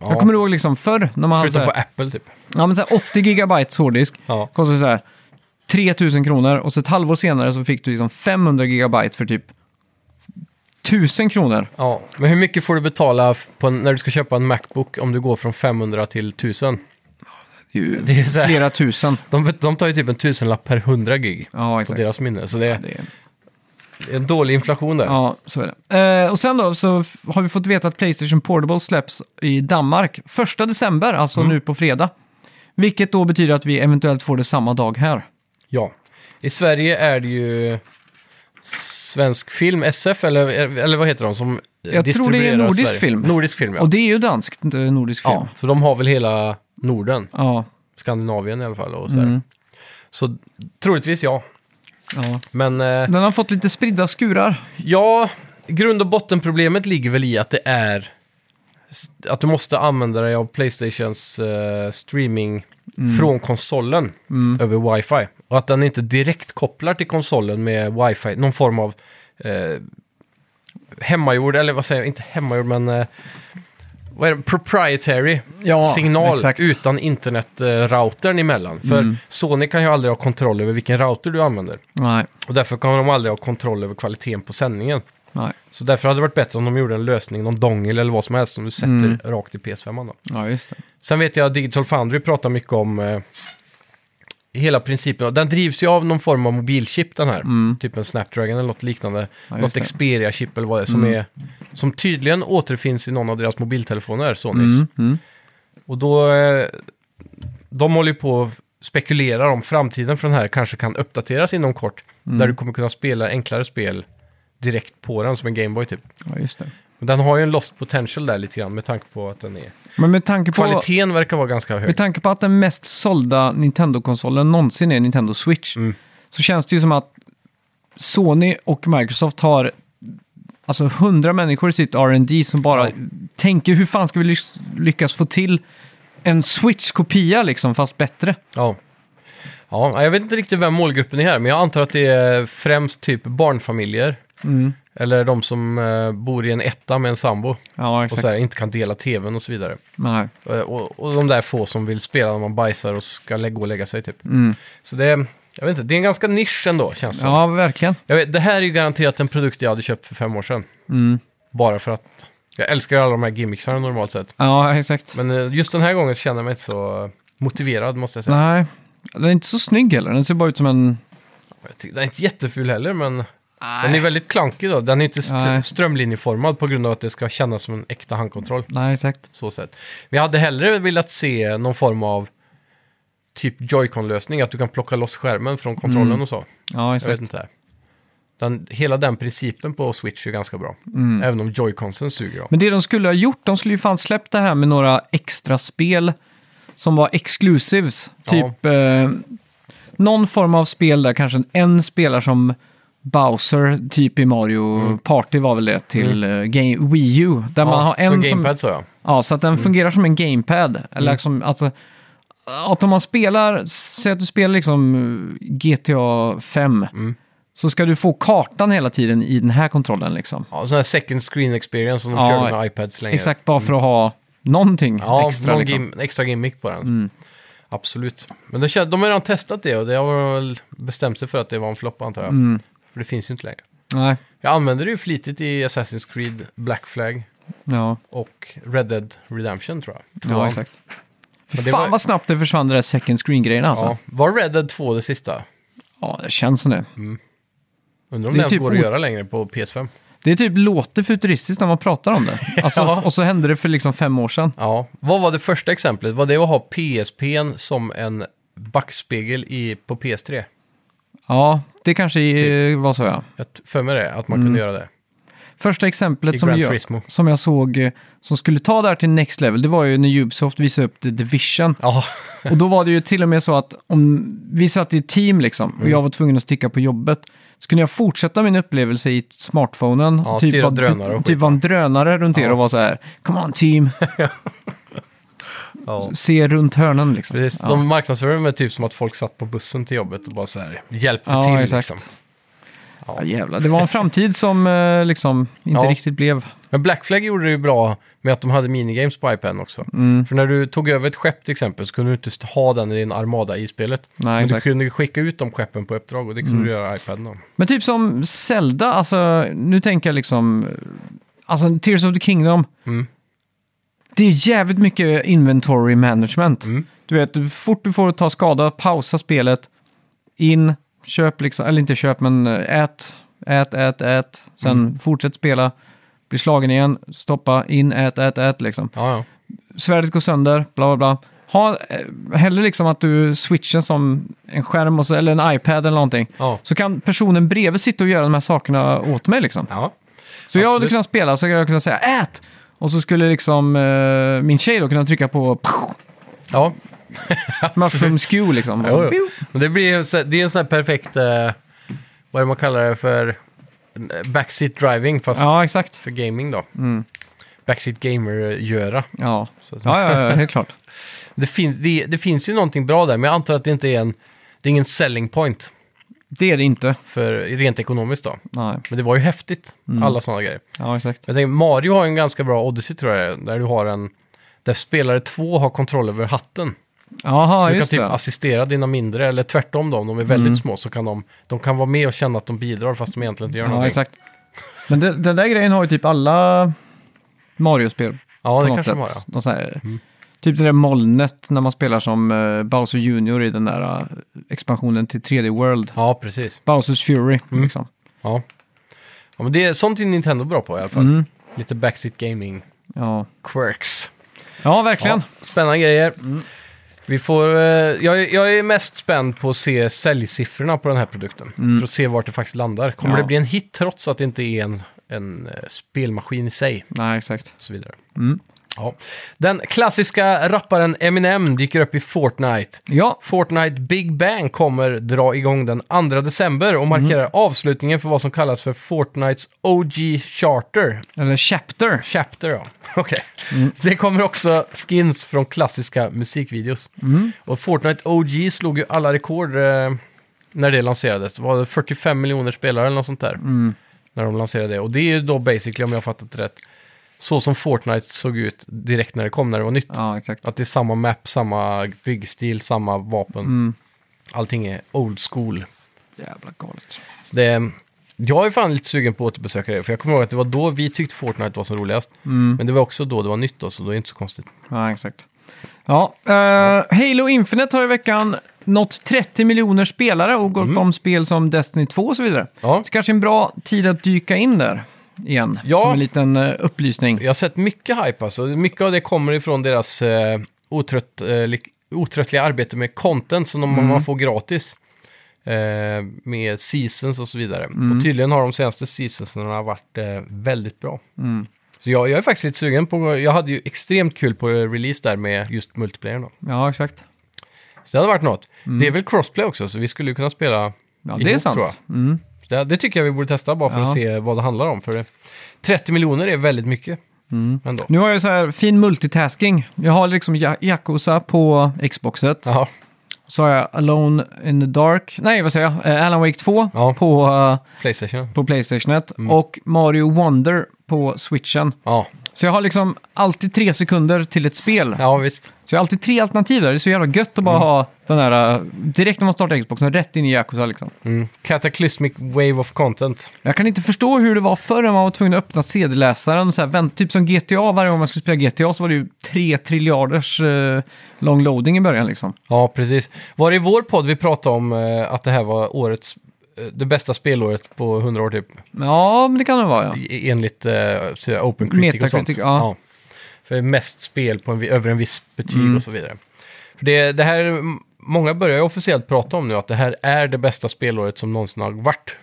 Speaker 2: Ja.
Speaker 1: Jag kommer ihåg liksom förr när man hade så
Speaker 2: Förutom på
Speaker 1: här,
Speaker 2: Apple typ.
Speaker 1: ja, men så här 80 gigabytes hårddisk.
Speaker 2: Ja.
Speaker 1: Kostade så här 3000 kronor och så ett halvår senare så fick du liksom 500 gigabyte för typ 1000 kronor.
Speaker 2: ja. Men hur mycket får du betala f- på en, när du ska köpa en Macbook om du går från 500 till 1000?
Speaker 1: Det är ju
Speaker 2: Det är så här-
Speaker 1: flera tusen.
Speaker 2: De, de tar ju typ en tusenlapp per 100 gig.
Speaker 1: Ja,
Speaker 2: På
Speaker 1: exakt.
Speaker 2: deras minne. Så det är
Speaker 1: Det är-
Speaker 2: en dålig inflation där.
Speaker 1: Ja, så är det. Eh, och sen då så f- har vi fått veta att Playstation Portable släpps i Danmark 1 december, alltså nu på fredag. Vilket då betyder att vi eventuellt får det samma dag här.
Speaker 2: Ja. I Sverige är det ju Svensk Film, SF, eller, eller vad heter de som
Speaker 1: tror det är nordisk film.
Speaker 2: Nordisk film, ja.
Speaker 1: Och det är ju danskt, inte nordisk film.
Speaker 2: ja. För de har väl hela Norden,
Speaker 1: Ja,
Speaker 2: Skandinavien i alla fall och så, mm. så troligtvis ja.
Speaker 1: ja.
Speaker 2: Men eh,
Speaker 1: Den har fått lite spridda skurar.
Speaker 2: ja, grund och bottenproblemet ligger väl i att det är s- att du måste använda dig av Playstations eh, streaming
Speaker 1: Mm.
Speaker 2: från konsolen över wifi. Och att den inte direkt kopplar till konsolen med wifi, någon form av eh, hemmagjord, eller vad säger jag, inte hemmagjord men eh, vad är det? proprietary
Speaker 1: Ja,
Speaker 2: signal
Speaker 1: exakt. Mm.
Speaker 2: utan internetroutern emellan. För Sony kan ju aldrig ha kontroll över vilken router du använder.
Speaker 1: Nej,
Speaker 2: Och därför kan de aldrig ha kontroll över kvaliteten på sändningen.
Speaker 1: nej.
Speaker 2: Så därför hade det varit bättre om de gjorde en lösning, någon dongel eller vad som helst, som du sätter
Speaker 1: Mm.
Speaker 2: rakt i PS5. Då.
Speaker 1: Ja, just det.
Speaker 2: Sen vet jag att Digital Foundry pratar mycket om eh, hela principen. Den drivs ju av någon form av mobilchip den här. Typ en Snapdragon eller något liknande.
Speaker 1: Mm. Ja, just
Speaker 2: något
Speaker 1: det. Mm.
Speaker 2: Xperia-chip eller vad det är, som är. Som tydligen återfinns i någon av deras mobiltelefoner, Sonys.
Speaker 1: Mm, mm.
Speaker 2: Och då... Eh, de håller ju på och spekulerar om framtiden för den här kanske kan uppdateras inom kort. Där
Speaker 1: Mm.
Speaker 2: du kommer kunna spela enklare spel direkt på den som en Gameboy typ.
Speaker 1: Ja, just det.
Speaker 2: Men den har ju en lost potential där lite grann med tanke på att den är...
Speaker 1: Men med tanke, på,
Speaker 2: Kvaliteten verkar vara ganska hög.
Speaker 1: med tanke på att den mest sålda Nintendo-konsolen någonsin är Nintendo Switch
Speaker 2: Mm.
Speaker 1: så känns det ju som att Sony och Microsoft har alltså hundra människor i sitt R&D som bara
Speaker 2: Ja.
Speaker 1: tänker hur fan ska vi lyx- lyckas få till en Switch-kopia liksom, fast bättre.
Speaker 2: Ja. ja, jag vet inte riktigt vem målgruppen är här, men jag antar att det är främst typ barnfamiljer.
Speaker 1: Mm.
Speaker 2: Eller de som eh, bor i en etta med en sambo
Speaker 1: Ja,
Speaker 2: och
Speaker 1: exakt.
Speaker 2: så här, inte kan dela tvn och så vidare.
Speaker 1: Nej.
Speaker 2: Eh, Och, och de där få som vill spela när man bajsar och ska lä- gå och lägga sig typ.
Speaker 1: Mm.
Speaker 2: Så det är, jag vet inte, det är en ganska nisch ändå känns det som.
Speaker 1: Ja, verkligen.
Speaker 2: jag vet, Det här är ju garanterat en produkt jag hade köpt för fem år sedan.
Speaker 1: Mm.
Speaker 2: Bara för att jag älskar ju alla de här gimmicksarna normalt sett.
Speaker 1: Ja, exakt.
Speaker 2: Men eh, just den här gången känner jag mig inte så eh, motiverad måste jag säga.
Speaker 1: Nej, den är inte så snygg heller. Den ser bara ut som en...
Speaker 2: Jag tycker- Den är inte jätteful heller, men Den är väldigt klankig då. Den är inte st-
Speaker 1: Nej.
Speaker 2: strömlinjeformad på grund av att det ska kännas som en äkta handkontroll.
Speaker 1: Nej, exakt.
Speaker 2: Så sätt. Vi hade hellre velat se någon form av typ Joy-Con-lösning. Att du kan plocka loss skärmen från kontrollen och så.
Speaker 1: Ja,
Speaker 2: Jag vet
Speaker 1: Mm. exakt.
Speaker 2: inte. Den, hela den principen på Switch är ganska bra.
Speaker 1: Mm.
Speaker 2: Även om Joy-Consen suger av.
Speaker 1: Men det de skulle ha gjort, de skulle ju fan släppt det här med några extra spel som var exclusives.
Speaker 2: Ja.
Speaker 1: Typ eh, någon form av spel där kanske en spelar som Bowser, typ i Mario
Speaker 2: Mm.
Speaker 1: Party var väl det, till eh, game, Wii U. Där man har en
Speaker 2: så
Speaker 1: som...
Speaker 2: gamepad Mm. sa jag.
Speaker 1: Ja, så att den fungerar som en gamepad. Eller liksom, alltså, att om man spelar, säg att du spelar liksom eh, GTA 5,
Speaker 2: Mm.
Speaker 1: så ska du få kartan hela tiden i den här kontrollen liksom.
Speaker 2: Ja, sån här second screen experience som de
Speaker 1: Ja,
Speaker 2: körde med iPads länge.
Speaker 1: Exakt, bara för att ha någonting
Speaker 2: Ja,
Speaker 1: extra.
Speaker 2: någon
Speaker 1: liksom. Mm.
Speaker 2: gim- extra gimmick på den. Absolut. Men det, kän- de har redan testat det och det har väl bestämt sig för att det var en flopp antar jag.
Speaker 1: Mm.
Speaker 2: För det finns ju inte längre.
Speaker 1: Nej,
Speaker 2: Jag använder det ju flitigt i Assassin's Creed, Black Flag
Speaker 1: ja,
Speaker 2: och Red Dead Redemption tror jag. Tvåan.
Speaker 1: ja exakt. Fy
Speaker 2: Men det
Speaker 1: fan
Speaker 2: var-
Speaker 1: vad snabbt det försvann det där second screen-grejen alltså.
Speaker 2: Ja,
Speaker 1: Ja.
Speaker 2: var Red Dead 2 det sista?
Speaker 1: det känns som det.
Speaker 2: Undrar
Speaker 1: Det
Speaker 2: om
Speaker 1: är
Speaker 2: det, ens
Speaker 1: typ
Speaker 2: går att
Speaker 1: o-
Speaker 2: göra längre på PS5.
Speaker 1: Det är typ låter futuristiskt när man pratar om det. Alltså,
Speaker 2: Ja.
Speaker 1: Och så hände det för liksom fem år sedan.
Speaker 2: Ja, vad var det första exemplet? Var det att ha PSPn som en backspegel i, på PS3?
Speaker 1: Ja, det kanske eh,
Speaker 2: Typ.
Speaker 1: var så ja.
Speaker 2: Jag t- för mig det, att man kunde göra det.
Speaker 1: Första exemplet
Speaker 2: I
Speaker 1: Mm. som
Speaker 2: Gran
Speaker 1: jag,
Speaker 2: Turismo.
Speaker 1: som jag såg eh, som skulle ta det här till next level, det var ju när Ubisoft visade upp The Division.
Speaker 2: Ja,
Speaker 1: Och då var det ju till och med så att om vi satt i ett team liksom och
Speaker 2: Mm.
Speaker 1: jag var tvungen att sticka på jobbet så kunde jag fortsätta min upplevelse i smartphonen.
Speaker 2: Ja,
Speaker 1: och
Speaker 2: styra
Speaker 1: vara-
Speaker 2: drönare och
Speaker 1: Typ
Speaker 2: skit,
Speaker 1: var en drönare runt er och var så här, come on team,
Speaker 2: ja.
Speaker 1: se runt hörnan liksom.
Speaker 2: precis.
Speaker 1: Ja.
Speaker 2: De marknadsförde mig typ som att folk satt på bussen till jobbet och bara så här hjälpte
Speaker 1: Ja,
Speaker 2: till
Speaker 1: exakt.
Speaker 2: liksom.
Speaker 1: Ja, jävlar. Det var en framtid som eh, liksom inte
Speaker 2: Ja.
Speaker 1: riktigt blev.
Speaker 2: Men Black Flag gjorde det ju bra med att de hade minigames på iPaden också.
Speaker 1: Mm.
Speaker 2: För när du tog över ett skepp till exempel så kunde du inte st- ha den i din armada i spelet.
Speaker 1: Nej,
Speaker 2: Men du
Speaker 1: exakt. Mm.
Speaker 2: kunde ju skicka ut de skeppen på uppdrag och det kunde du göra i iPaden då.
Speaker 1: Men typ som Zelda, alltså nu tänker jag liksom, eh, alltså Tears of the Kingdom.
Speaker 2: Mm.
Speaker 1: Det är jävligt mycket inventory management.
Speaker 2: Mm.
Speaker 1: Du vet, hur fort du får ta skada, pausa spelet, in, köp liksom, eller inte köp men eh, ät, ät, ät, ät, sen
Speaker 2: Mm.
Speaker 1: fortsätt spela, bli slagen igen, stoppa, in, ät, ät, ät liksom.
Speaker 2: Ja, ja.
Speaker 1: Svärdet går sönder, bla bla bla. Ha eh, hellre liksom att du switchar som en skärm och så, eller en iPad eller någonting.
Speaker 2: ja.
Speaker 1: Så kan personen bredvid sitta och göra de här sakerna åt mig liksom.
Speaker 2: ja.
Speaker 1: Så jag hade
Speaker 2: absolut.
Speaker 1: kunnat spela så jag kunnat säga ät! Och så skulle liksom eh, min tjej då kunna trycka på
Speaker 2: ja.
Speaker 1: mushroom skew liksom. Och så,
Speaker 2: Jo, jo.
Speaker 1: pew.
Speaker 2: Men det, blir, ju så- det är en sån här perfekt, eh, vad är det man kallar det för, Eh, backseat driving fast
Speaker 1: Ja, exakt.
Speaker 2: för gaming då. Backseat gamer-göra.
Speaker 1: Ja.
Speaker 2: Så att-
Speaker 1: Ja, ja, ja, helt klart.
Speaker 2: Det, finns, det, det finns ju någonting bra där, men jag antar att det inte är en, det är ingen selling point
Speaker 1: Det är det inte.
Speaker 2: för rent ekonomiskt då.
Speaker 1: Nej,
Speaker 2: Men det var ju häftigt,
Speaker 1: Mm.
Speaker 2: alla sådana grejer.
Speaker 1: ja exakt.
Speaker 2: Jag tänker, Mario har ju en ganska bra Odyssey tror jag, där du har en, där spelare två har kontroll över hatten.
Speaker 1: Jaha,
Speaker 2: så du kan
Speaker 1: just
Speaker 2: typ
Speaker 1: det. Mm.
Speaker 2: assistera dina mindre, eller tvärtom då, om de är väldigt små så kan de, de kan vara med och känna att de bidrar fast de egentligen inte gör
Speaker 1: Ja,
Speaker 2: någonting.
Speaker 1: exakt. Men det, den där grejen har ju typ alla Mario-spel
Speaker 2: Ja,
Speaker 1: på
Speaker 2: det
Speaker 1: något
Speaker 2: kanske
Speaker 1: sätt.
Speaker 2: de har. Ja. Mm.
Speaker 1: Någon sån här, Typ det där molnet när man spelar som eh, Bowser Junior i den där eh, expansionen till 3D World.
Speaker 2: ja, precis.
Speaker 1: Bowsers Fury,
Speaker 2: Mm.
Speaker 1: liksom.
Speaker 2: Ja. ja, men det är sånt är Nintendo bra på i alla fall.
Speaker 1: Mm.
Speaker 2: Lite backseat gaming
Speaker 1: Ja,
Speaker 2: quirks.
Speaker 1: ja verkligen.
Speaker 2: Ja, spännande grejer. Vi får, eh, jag, är- jag är mest spänd på att se säljsiffrorna på den här produkten. För att se vart det faktiskt landar. Kommer
Speaker 1: Mm. Ja.
Speaker 2: det bli en hit trots att det inte är en, en eh, spelmaskin i sig?
Speaker 1: Nej, exakt.
Speaker 2: Och så vidare.
Speaker 1: Mm.
Speaker 2: Ja. Den klassiska rapparen Eminem dyker upp i Fortnite.
Speaker 1: Ja,
Speaker 2: Fortnite Big Bang kommer dra igång den 2 december och markerar
Speaker 1: Mm.
Speaker 2: avslutningen för vad som kallas för Fortnites OG Charter.
Speaker 1: eller Chapter.
Speaker 2: Chapter, ja. Okej. Det kommer också skins från klassiska musikvideos. Och Fortnite OG slog ju alla rekord eh, när det lanserades. Det var 45 miljoner spelare eller något sånt där. När de lanserade det. Och det är ju då basically, om jag har fattat det rätt, så som Fortnite såg ut direkt när det kom, när det var nytt.
Speaker 1: Ja, exakt.
Speaker 2: Att det är samma map, samma byggstil, samma vapen. Allting är old school.
Speaker 1: Jävla galet.
Speaker 2: Så det, jag är fan lite sugen på att återbesöka det, för jag kommer ihåg att det var då vi tyckte Fortnite var som roligast. Men det var också då det var nytt, då, så då är det inte så konstigt.
Speaker 1: Ja, exakt. Ja, eh, Halo Infinite har i veckan nått 30 miljoner spelare och gått om spel som Destiny 2 och så vidare.
Speaker 2: Mm. Ja.
Speaker 1: Så kanske en bra tid att dyka in där igen.
Speaker 2: Ja.
Speaker 1: Som en liten eh, upplysning.
Speaker 2: Jag har sett mycket hype alltså. Mycket av det kommer ifrån deras eh, otrött, eh, lik- otröttliga arbete med content som de, man får gratis. Eh, med seasons och så vidare. Och tydligen har de senaste seasonsarna varit eh, väldigt bra. Så jag, jag är faktiskt lite sugen på, jag hade ju extremt kul på release där med just multiplayern då.
Speaker 1: Ja, exakt.
Speaker 2: Så det hade varit något. Det är väl crossplay också, så vi skulle ju kunna spela
Speaker 1: Ja,
Speaker 2: ihop
Speaker 1: det är sant.
Speaker 2: tror jag.
Speaker 1: Mm.
Speaker 2: Det, det tycker jag vi borde testa bara för att
Speaker 1: Ja.
Speaker 2: se vad det handlar om. För det, 30 miljoner är väldigt mycket. Ändå.
Speaker 1: Nu har jag så här fin multitasking. Jag har liksom Ja- Yakuza på Xboxet.
Speaker 2: Ja,
Speaker 1: Så har jag Alone in the Dark, nej vad säger jag, Eh, Alan Wake 2
Speaker 2: Ja. Mm.
Speaker 1: på, eh,
Speaker 2: Playstation.
Speaker 1: på Playstationet och Mario Wonder på Switchen.
Speaker 2: Ja,
Speaker 1: Så jag har liksom alltid tre sekunder till ett spel.
Speaker 2: ja Mm. visst.
Speaker 1: Så jag har alltid tre alternativ där. Det är så jävla gött att bara ha den här, eh, direkt när man startar Xboxen, rätt in i Yakuza liksom.
Speaker 2: Mm. Cataclysmic wave of content.
Speaker 1: Jag kan inte förstå hur det var förr när man var tvungen att öppna CD-läsaren. och Så här, vänt, typ som GTA, varje gång man skulle spela GTA så var det ju tre triljarders eh, long loading i början liksom.
Speaker 2: Ja, precis. Var det i vår podd vi pratade om eh, att det här var årets, eh, det bästa spelåret på 100 år typ?
Speaker 1: Ja, men det kan det vara ja.
Speaker 2: I- Enligt eh, så här, Open Critic och sånt.
Speaker 1: Metacritic, ja.
Speaker 2: För mest spel på en, vi- över en viss betyg
Speaker 1: Mm.
Speaker 2: och så vidare. För det, det här, m- många börjar ju officiellt prata om nu att det här är det bästa spelåret som någonsin har varit.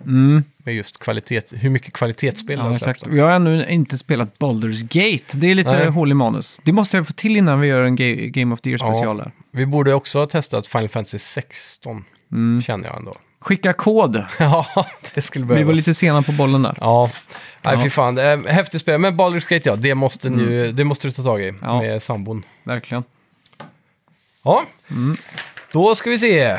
Speaker 1: Mm.
Speaker 2: Med just kvalitet, hur mycket kvalitetsspel det
Speaker 1: Ja,
Speaker 2: har
Speaker 1: exakt.
Speaker 2: släppt.
Speaker 1: Och Jag har ännu inte spelat Baldur's Gate. Det är lite
Speaker 2: Nej.
Speaker 1: hål i manus. Det måste jag få till innan vi gör en ga- Game of the
Speaker 2: Ja.
Speaker 1: Year-special. där.
Speaker 2: Vi borde också ha testat Final Fantasy 16,
Speaker 1: Mm.
Speaker 2: känner jag ändå.
Speaker 1: Skicka kod.
Speaker 2: Ja, det skulle
Speaker 1: Vi
Speaker 2: behövas.
Speaker 1: var lite sena på bollen där.
Speaker 2: Ja, nej
Speaker 1: Ja. Mm.
Speaker 2: fy fan. Det är Häftigt spel, men Baldur's Gate ja, det måste, nu, det måste du ta tag i
Speaker 1: Ja.
Speaker 2: med sambon.
Speaker 1: Verkligen.
Speaker 2: Ja, då ska vi se.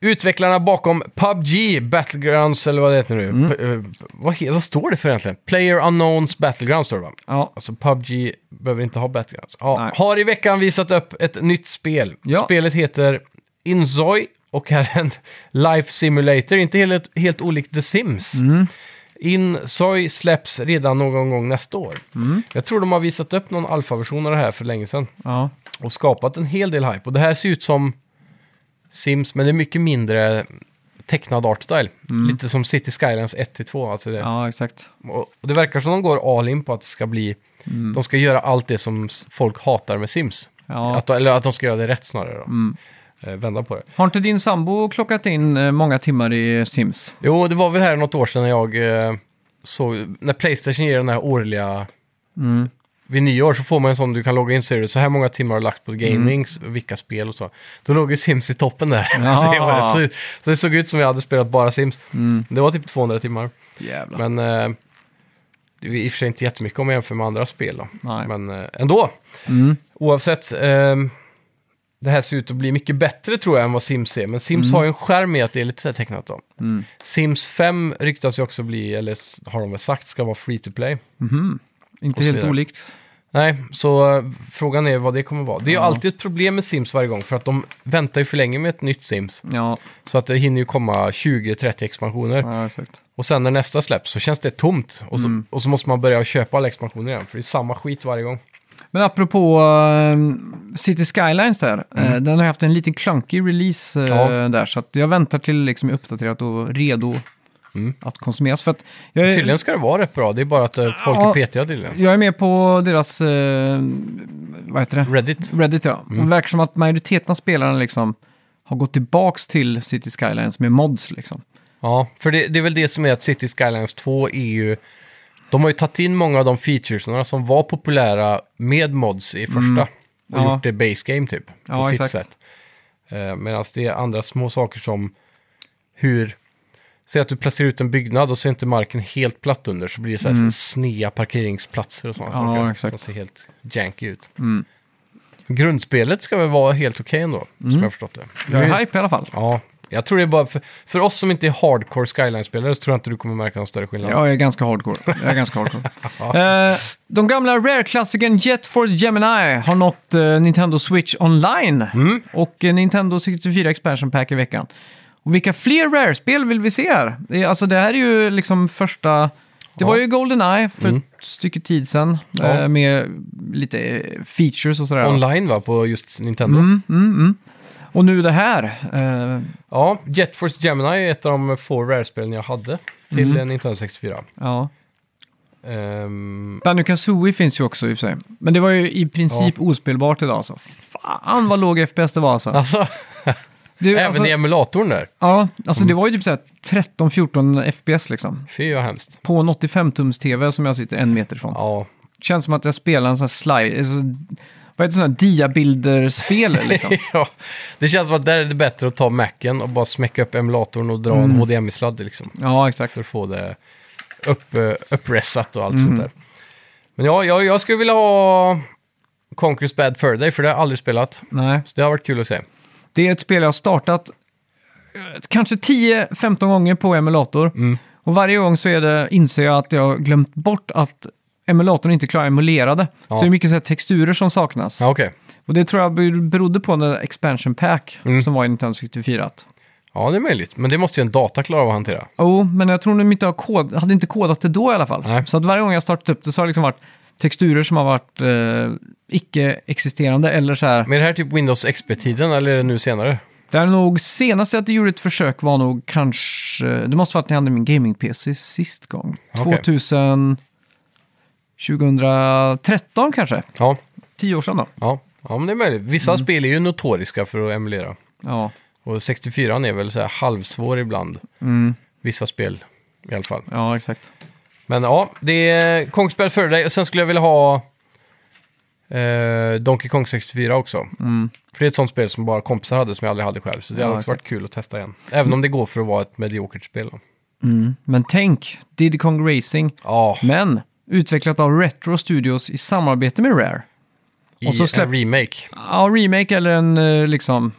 Speaker 2: Utvecklarna bakom PubG Battlegrounds, eller vad det heter nu.
Speaker 1: Mm.
Speaker 2: P- eh, vad, he- vad står det för egentligen? Player Unknowns Battlegrounds står det va?
Speaker 1: Ja.
Speaker 2: Alltså PubG behöver inte ha Battlegrounds. Ja,
Speaker 1: Nej.
Speaker 2: har i veckan visat upp ett nytt spel.
Speaker 1: Ja.
Speaker 2: Spelet heter Inzoi och är en Life Simulator, inte helt, helt olikt The Sims.
Speaker 1: Mm.
Speaker 2: Inzoi släpps redan någon gång nästa år.
Speaker 1: Mm.
Speaker 2: Jag tror de har visat upp någon alfaversion av det här för länge sedan
Speaker 1: ja.
Speaker 2: och skapat en hel del hype. Och det här ser ut som Sims, men det är mycket mindre tecknad art style. Lite som City Skylines 1-2. Alltså det.
Speaker 1: Mm. Ja, exakt.
Speaker 2: Och och det verkar som de går all in på att det ska bli...
Speaker 1: Mm.
Speaker 2: De ska göra allt det som s- folk hatar med Sims.
Speaker 1: Ja. Mm.
Speaker 2: Att, eller att de ska göra det rätt snarare. Då. Eh, vända på det.
Speaker 1: Har inte din sambo klockat in eh, många timmar i Sims?
Speaker 2: Jo, det var väl här något år sedan när jag eh, såg... När Playstation ger den här årliga...
Speaker 1: Mm.
Speaker 2: Vid nyår så får man en sån du kan logga in så ser du så här många timmar har du lagt på
Speaker 1: Mm.
Speaker 2: gaming, s- vilka spel och så. Då låg ju Sims i toppen där.
Speaker 1: Ja. Mm.
Speaker 2: det var det. Så, så det såg ut som jag hade spelat bara Sims. Det var typ 200 timmar.
Speaker 1: Jävlar.
Speaker 2: Men eh, det är i och för sig inte jättemycket om jag jämför med andra spel då.
Speaker 1: Nej.
Speaker 2: Men eh, ändå,
Speaker 1: Mm.
Speaker 2: oavsett. ehm, det här ser ut att bli mycket bättre tror jag än vad Sims är. Men Sims har ju en skärm i att det är lite så här tecknat då.
Speaker 1: Mm.
Speaker 2: Sims 5 ryktas ju också bli, eller s- har de väl sagt, ska vara free to play.
Speaker 1: Mhm. Inte
Speaker 2: Och så
Speaker 1: helt
Speaker 2: vidare.
Speaker 1: olikt.
Speaker 2: Nej, så eh, frågan är vad det kommer vara. Det är ju
Speaker 1: Ja.
Speaker 2: alltid ett problem med Sims varje gång, för att de väntar ju för länge med ett nytt Sims.
Speaker 1: Ja,
Speaker 2: Så att det hinner ju komma 20-30 expansioner.
Speaker 1: ja Mm. exakt.
Speaker 2: Och sen när nästa släpps så känns det tomt. Och så, och så måste man börja köpa alla expansioner igen, för det är samma skit varje gång.
Speaker 1: Men apropå eh, City Skylines där, eh, den har haft en liten klunkig release eh,
Speaker 2: Mm. Ja.
Speaker 1: där, så att jag väntar till liksom, jag är uppdaterat och redo att konsumeras. För att jag, är,
Speaker 2: Mm. Tydligen ska det vara rätt bra, det är bara att eh, folk är
Speaker 1: Eh. Ja.
Speaker 2: petiga tydligen.
Speaker 1: jag är med på deras, eh, vad heter det?
Speaker 2: Reddit. Mm.
Speaker 1: Reddit ja. Det verkar som att majoriteten av spelarna liksom har gått tillbaks till City Skylines med mods liksom.
Speaker 2: Ja, för det, det är väl det som är att City Skylines 2 är ju... De har ju tagit in många av de featuresna som var populära med mods i första. Och
Speaker 1: Mm. Ja.
Speaker 2: gjort det base game typ, på
Speaker 1: Ja,
Speaker 2: sitt
Speaker 1: exakt.
Speaker 2: sätt. Eh, Medan det är andra små saker som hur... Säg att du placerar ut en byggnad och så är inte marken helt platt under. Så blir det så här snea parkeringsplatser och sådana
Speaker 1: Mm. Ja,
Speaker 2: saker.
Speaker 1: exakt. Mm.
Speaker 2: Som ser helt janky ut. Grundspelet ska väl vara helt okej ändå, som jag har förstått det.
Speaker 1: Mm. Jag
Speaker 2: Nu-
Speaker 1: är hype i alla fall.
Speaker 2: Ja, jag tror det är bara för, för oss som inte är hardcore Skyline-spelare så tror jag inte du kommer märka någon större skillnad.
Speaker 1: Jag är ganska hardcore. Jag är ganska hardcore. Eh, de gamla Rare-klassikern Jet Force Gemini har nått eh, Nintendo Switch online
Speaker 2: Mm.
Speaker 1: och eh, Nintendo 64 Expansion Pack i veckan. Och vilka fler Rare-spel vill vi se här? Det är- Alltså det här är ju liksom första... Det
Speaker 2: Ja.
Speaker 1: var ju Goldeneye för
Speaker 2: Mm.
Speaker 1: ett stycke tid sedan
Speaker 2: Ja.
Speaker 1: eh, med lite eh, features och sådär.
Speaker 2: Online va, på just Nintendo?
Speaker 1: Mm, mm, mm. Och nu det här. Eh,
Speaker 2: Ja, Jet Force Gemini är ett av de få rare-spelen jag hade till eh, Nintendo 64.
Speaker 1: ja.
Speaker 2: Ehm,
Speaker 1: Banjo Kazooie finns ju också i och för sig. Men det var ju i princip ospelbart idag alltså. Fan vad låg FPS det var alltså.
Speaker 2: alltså,
Speaker 1: Det,
Speaker 2: även Mm.
Speaker 1: alltså,
Speaker 2: i emulatorn där.
Speaker 1: ja, alltså det var ju typ såhär 13-14 FPS liksom.
Speaker 2: Fy vad hemskt.
Speaker 1: På en 85-tums-tv som jag sitter en meter ifrån.
Speaker 2: Ja,
Speaker 1: Känns som att jag spelar en sån här slide... Alltså, vad heter sådana här diabilder-spel liksom?
Speaker 2: ja. Det känns som att där är det bättre att ta Macen och bara smäcka upp emulatorn och dra en HDMI-sladd liksom.
Speaker 1: ja, exakt.
Speaker 2: För att få det upp, eh, uppressat och allt sånt där. Men ja, jag, jag skulle vilja ha Conquer's Bad Fur Day, för det har jag aldrig spelat.
Speaker 1: Nej.
Speaker 2: Så det har varit kul att se.
Speaker 1: Det är ett spel jag har startat eh, kanske 10-15 gånger på emulator.
Speaker 2: Mm.
Speaker 1: Och varje gång så är det, inser jag att jag har glömt bort att emulatorn inte klarar emulerade.
Speaker 2: Ja.
Speaker 1: Så det är mycket så här texturer som saknas.
Speaker 2: Ja, okej.
Speaker 1: Och det tror jag ber- berodde på den där expansion pack
Speaker 2: Mm.
Speaker 1: som var i Nintendo 64. att-
Speaker 2: Ja, det är möjligt. Men det måste ju en data klara av att hantera.
Speaker 1: Jo, men jag tror de inte har kod, hade inte kodat det då i alla fall.
Speaker 2: Nej.
Speaker 1: Så att varje gång jag startat upp det så har det liksom varit texturer som har varit eh, icke-existerande eller så här.
Speaker 2: Men är det här typ Windows XP-tiden eller är det nu senare?
Speaker 1: Det är nog senast jag gjorde ett försök var nog kanske, det måste vara att ni hade min gaming-PC sist gång.
Speaker 2: Okej.
Speaker 1: 2000, 2013 kanske,
Speaker 2: Ja,
Speaker 1: tio år sedan då.
Speaker 2: ja. ja men det är möjligt. Vissa spel är ju notoriska för att emulera.
Speaker 1: Ja,
Speaker 2: Och 64 är väl så här halvsvår ibland. Vissa spel i alla fall.
Speaker 1: ja exakt.
Speaker 2: Men ja, det är Kongspel för dig. Och sen skulle jag vilja ha eh, Donkey Kong 64 också. För det är ett sånt spel som bara kompisar hade som jag aldrig hade själv. Så det
Speaker 1: Mm. Ja,
Speaker 2: hade också
Speaker 1: exakt.
Speaker 2: varit kul att testa igen. Även om det går för att vara ett mediokert spel. då.
Speaker 1: Mm. Men tänk, Diddy Kong Racing,
Speaker 2: Ja,
Speaker 1: men utvecklat av Retro Studios i samarbete med Rare.
Speaker 2: i
Speaker 1: Och så
Speaker 2: en
Speaker 1: släppt-
Speaker 2: remake.
Speaker 1: Ja, remake eller en eh, liksom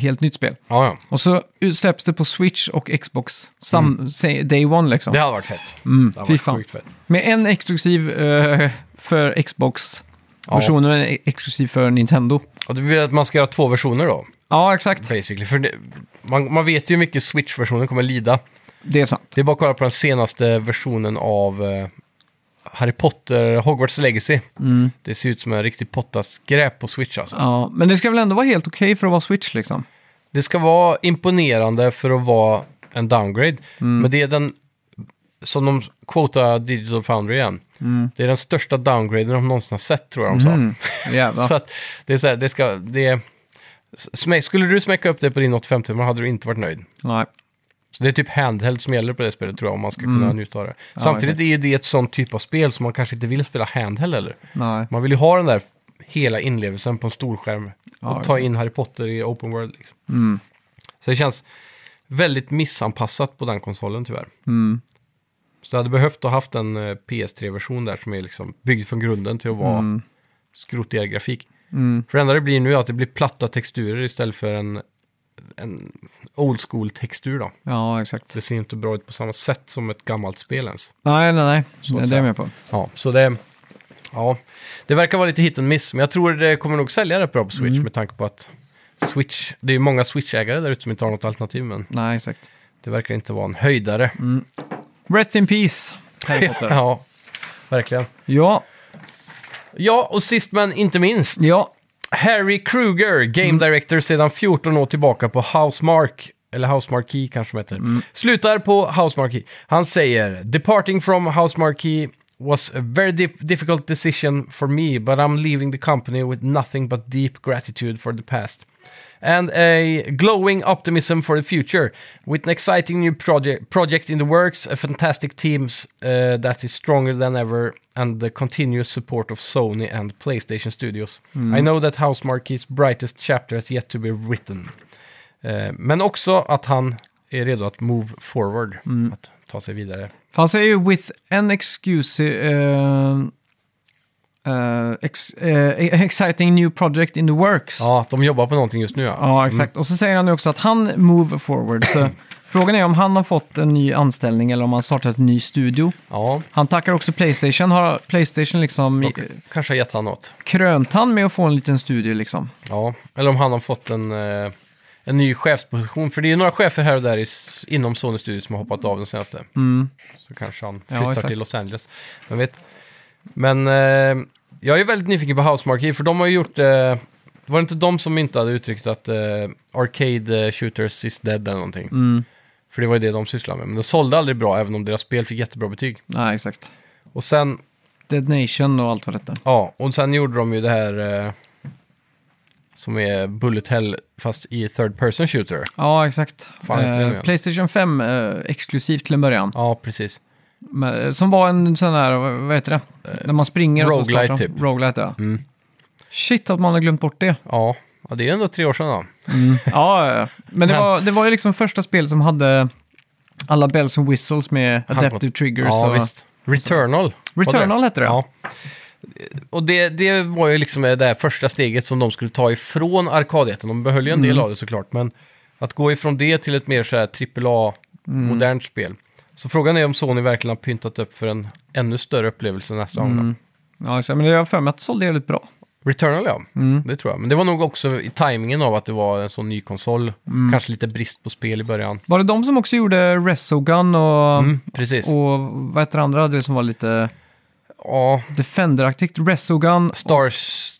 Speaker 1: helt nytt spel.
Speaker 2: Ja, ja.
Speaker 1: Och så släpps det på Switch och Xbox, sam, se- day one liksom.
Speaker 2: Det hade varit fett.
Speaker 1: Mm,
Speaker 2: Mm. Det hade
Speaker 1: fy
Speaker 2: varit
Speaker 1: fan.
Speaker 2: sjukt fett.
Speaker 1: Med en exklusiv eh, för Xbox-versionen och en exklusiv för Nintendo.
Speaker 2: Och det betyder att man ska göra två versioner då,
Speaker 1: Ja, exakt.
Speaker 2: basically. För det, man, man vet ju hur mycket Switch-versionen kommer lida.
Speaker 1: Det är sant.
Speaker 2: Det är bara att kolla på den senaste versionen av eh, Harry Potter Hogwarts Legacy. Det ser ut som en riktig pottaskräp på Switch alltså.
Speaker 1: Ja, men det ska väl ändå vara helt okej för att vara Switch liksom.
Speaker 2: Det ska vara imponerande för att vara en downgrade. Men det är den, som de quotar Digital Foundry igen, det är den största downgraden de någonsin har sett tror jag de sa.
Speaker 1: Mm.
Speaker 2: Så
Speaker 1: Jävlar.
Speaker 2: att det är så här, det ska, det är, smä- skulle du smäcka upp det på din 85 timmar hade du inte varit nöjd.
Speaker 1: Nej.
Speaker 2: Så det är typ handheld som gäller på det spelet tror jag, om man ska kunna njuta av det. Samtidigt
Speaker 1: Mm. okej.
Speaker 2: är ju det ett sånt typ av spel som man kanske inte vill spela handheld eller.
Speaker 1: Nej.
Speaker 2: Man vill ju ha den där hela inlevelsen på en stor skärm
Speaker 1: Ja,
Speaker 2: och ta
Speaker 1: exakt. Mm.
Speaker 2: in Harry Potter i open world. Liksom. Så det känns väldigt missanpassat på den konsolen tyvärr.
Speaker 1: Mm.
Speaker 2: Så jag hade behövt ha haft en eh, PS3-version där som är liksom byggd från grunden till att vara
Speaker 1: Mm.
Speaker 2: skrotigare grafik. För det enda det blir nu är att det blir platta texturer istället för en, en old school-textur då.
Speaker 1: Ja, exakt.
Speaker 2: Det ser ju inte bra ut på samma sätt som ett gammalt spel ens.
Speaker 1: Nej, nej, nej. det är
Speaker 2: att
Speaker 1: det
Speaker 2: säga.
Speaker 1: jag med på.
Speaker 2: Ja, så det... Ja, det verkar vara lite hit and miss, men jag tror det kommer nog sälja rätt bra på Switch med tanke på att Switch, det är ju många Switch-ägare där ute som inte har något alternativ, men
Speaker 1: Nej, exakt.
Speaker 2: det verkar inte vara en höjdare.
Speaker 1: Rest in peace, Harry Potter.
Speaker 2: ja, verkligen.
Speaker 1: ja,
Speaker 2: Ja, och sist men inte minst,
Speaker 1: ja.
Speaker 2: Harry Kruger, Game Director sedan 14 år tillbaka på Housemark, eller Housemarque kanske de heter, slutar på Housemarque. Han säger “Departing from Housemarque was a very dif- difficult decision for me, but I'm leaving the company with nothing but deep gratitude for the past. And a glowing optimism for the future, with an exciting new project, project in the works, a fantastic teams uh, that is stronger than ever, and the continuous support of Sony and PlayStation Studios. I know that Housemarque's brightest chapter has yet to be written. Eh, men också att han är redo att move forward, att ta sig vidare.
Speaker 1: För han säger ju with an excuse... eh, eh, ex, eh, exciting new project in the works.
Speaker 2: Ja, att de jobbar på någonting just nu ja.
Speaker 1: Ja, exakt. Och så säger han ju också att han move forward. Så frågan är om han har fått en ny anställning eller om han startat en ny studio.
Speaker 2: ja
Speaker 1: Han tackar också Playstation. Har Playstation liksom
Speaker 2: de k- kanske har gett han något.
Speaker 1: krönt han med att få en liten studio liksom?
Speaker 2: Ja, eller om han har fått en, eh, en ny chefsposition. För det är ju några chefer här och där i, s- inom Sony Studios som har hoppat av den senaste.
Speaker 1: Mm.
Speaker 2: Så kanske han
Speaker 1: Ja,
Speaker 2: flyttar
Speaker 1: exakt.
Speaker 2: till Los Angeles. Men vet. Men eh, jag är väldigt nyfiken på Housemarque, för de har ju gjort eh, Var det inte de som myntade uttrycket att eh, arcade eh, shooters is dead eller någonting?
Speaker 1: Mm.
Speaker 2: För det var ju det de sysslade med. Men de sålde aldrig bra, även om deras spel fick jättebra betyg.
Speaker 1: Nej, exakt.
Speaker 2: Och sen,
Speaker 1: Dead Nation och allt vad det hette.
Speaker 2: ja, och sen gjorde de ju det här eh, som är Bullet Hell, fast i third person shooter.
Speaker 1: Ja, exakt.
Speaker 2: Fan, äntligen
Speaker 1: eh,
Speaker 2: igen.
Speaker 1: Playstation 5 eh, exklusivt till en början.
Speaker 2: Ja, precis.
Speaker 1: Men, eh, som var en sån här, vad- vad heter det? När man springer och så
Speaker 2: Eh, roguelite
Speaker 1: startar
Speaker 2: typ.
Speaker 1: Roguelite, ja.
Speaker 2: Mm.
Speaker 1: Shit att man har glömt bort det.
Speaker 2: Ja, ja det är ändå tre år sedan då.
Speaker 1: ja, ja, ja. men det
Speaker 2: Mm. Men-
Speaker 1: var, det var ju liksom första spelet som hade alla bells and whistles med adaptive
Speaker 2: Handkont-
Speaker 1: triggers.
Speaker 2: Ja,
Speaker 1: och...
Speaker 2: visst. Returnal. var det.
Speaker 1: Returnal hette det.
Speaker 2: Ja. Och det, det var ju liksom det här första steget som de skulle ta ifrån arkadheten. De behöll ju en del
Speaker 1: Mm.
Speaker 2: av det såklart, men att gå ifrån det till ett mer så här
Speaker 1: Mm.
Speaker 2: AAA-modernt spel. Så frågan är om Sony verkligen har pyntat upp för en ännu större upplevelse nästa gång.
Speaker 1: Mm.
Speaker 2: då.
Speaker 1: Ja, exakt. men jag har för mig att det sålde jävligt bra.
Speaker 2: Returnal ja,
Speaker 1: Mm.
Speaker 2: det tror jag. Men det var nog också i tajmingen av att det var en sån ny konsol.
Speaker 1: Mm.
Speaker 2: Kanske lite brist på spel i början.
Speaker 1: Var det de som också gjorde Resogun och,
Speaker 2: Mm, precis.
Speaker 1: och vad heter det andra? Det som var lite
Speaker 2: Ja,
Speaker 1: Defender-aktigt. Resogun.
Speaker 2: Stars...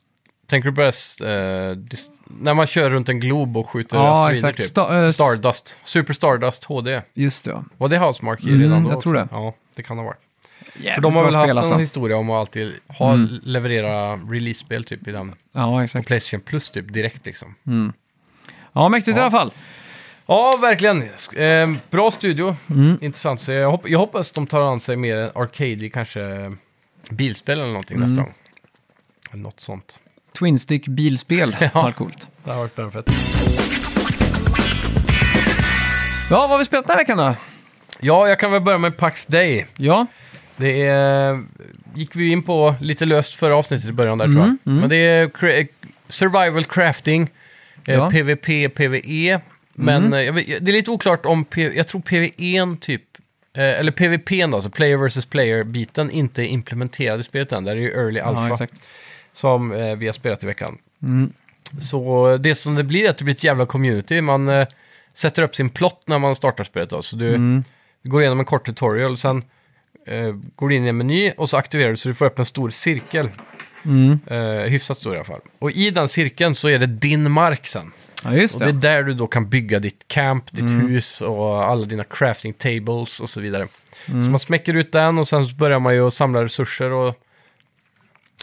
Speaker 2: Tänker du på det? här, eh, dis- när man kör runt en glob och skjuter
Speaker 1: Ja,
Speaker 2: asteroider
Speaker 1: exakt.
Speaker 2: typ.
Speaker 1: Sta- eh,
Speaker 2: Stardust. Super Stardust HD.
Speaker 1: Just det, ja.
Speaker 2: Var det Housemarque
Speaker 1: Mm,
Speaker 2: redan då?
Speaker 1: jag tror det.
Speaker 2: också? Ja, det kan ha varit. För
Speaker 1: Jävligt
Speaker 2: de har
Speaker 1: bra
Speaker 2: väl haft
Speaker 1: spel, alltså.
Speaker 2: en historia om att alltid ha, leverera release-spel typ i den.
Speaker 1: Ja,
Speaker 2: På
Speaker 1: Mm. exakt. Mm.
Speaker 2: Playstation Plus typ direkt liksom.
Speaker 1: Ja, mäktigt i
Speaker 2: Ja.
Speaker 1: alla fall.
Speaker 2: Ja, verkligen. Sk- Eh, bra studio.
Speaker 1: Mm.
Speaker 2: Intressant. Så jag, hopp- jag hoppas de tar an sig mer en arcade i kanske bilspel eller någonting
Speaker 1: Mm.
Speaker 2: nästa gång. Eller Något sånt.
Speaker 1: Twinstick bilspel.
Speaker 2: Ja.
Speaker 1: Var coolt.
Speaker 2: Det har varit perfekt.
Speaker 1: Ja, vad har vi spelat den här veckan då?
Speaker 2: Ja, jag kan väl börja med Pax Day.
Speaker 1: Ja,
Speaker 2: Det är, gick vi in på lite löst förra avsnittet i början där tror
Speaker 1: Mm,
Speaker 2: jag. Men det är cra- survival crafting,
Speaker 1: Ja.
Speaker 2: eh,
Speaker 1: Mm.
Speaker 2: PVP, PVE. Men eh, jag vet, det är lite oklart om, P- jag tror PVE typ, eh, eller PVP då, alltså player versus player-biten, inte är implementerad i spelet än. Där är ju early
Speaker 1: ja
Speaker 2: alpha
Speaker 1: exakt.
Speaker 2: som eh, vi har spelat i veckan.
Speaker 1: Mm.
Speaker 2: Så eh, det som det blir är att det blir ett jävla community. Man eh, sätter upp sin plott när man startar spelet då. Så du,
Speaker 1: Mm.
Speaker 2: du går igenom en kort tutorial, sen eh, går du in i en meny och så aktiverar du så du får upp en stor cirkel.
Speaker 1: Mm.
Speaker 2: Eh, hyfsat stor i alla fall. Och i den cirkeln så är det din mark sen.
Speaker 1: Ja, just
Speaker 2: Och det är
Speaker 1: det. Mm.
Speaker 2: där du då kan bygga ditt camp, ditt hus och alla dina crafting tables och så vidare.
Speaker 1: Mm.
Speaker 2: Så man smäcker ut den och sen så börjar man ju att samla resurser och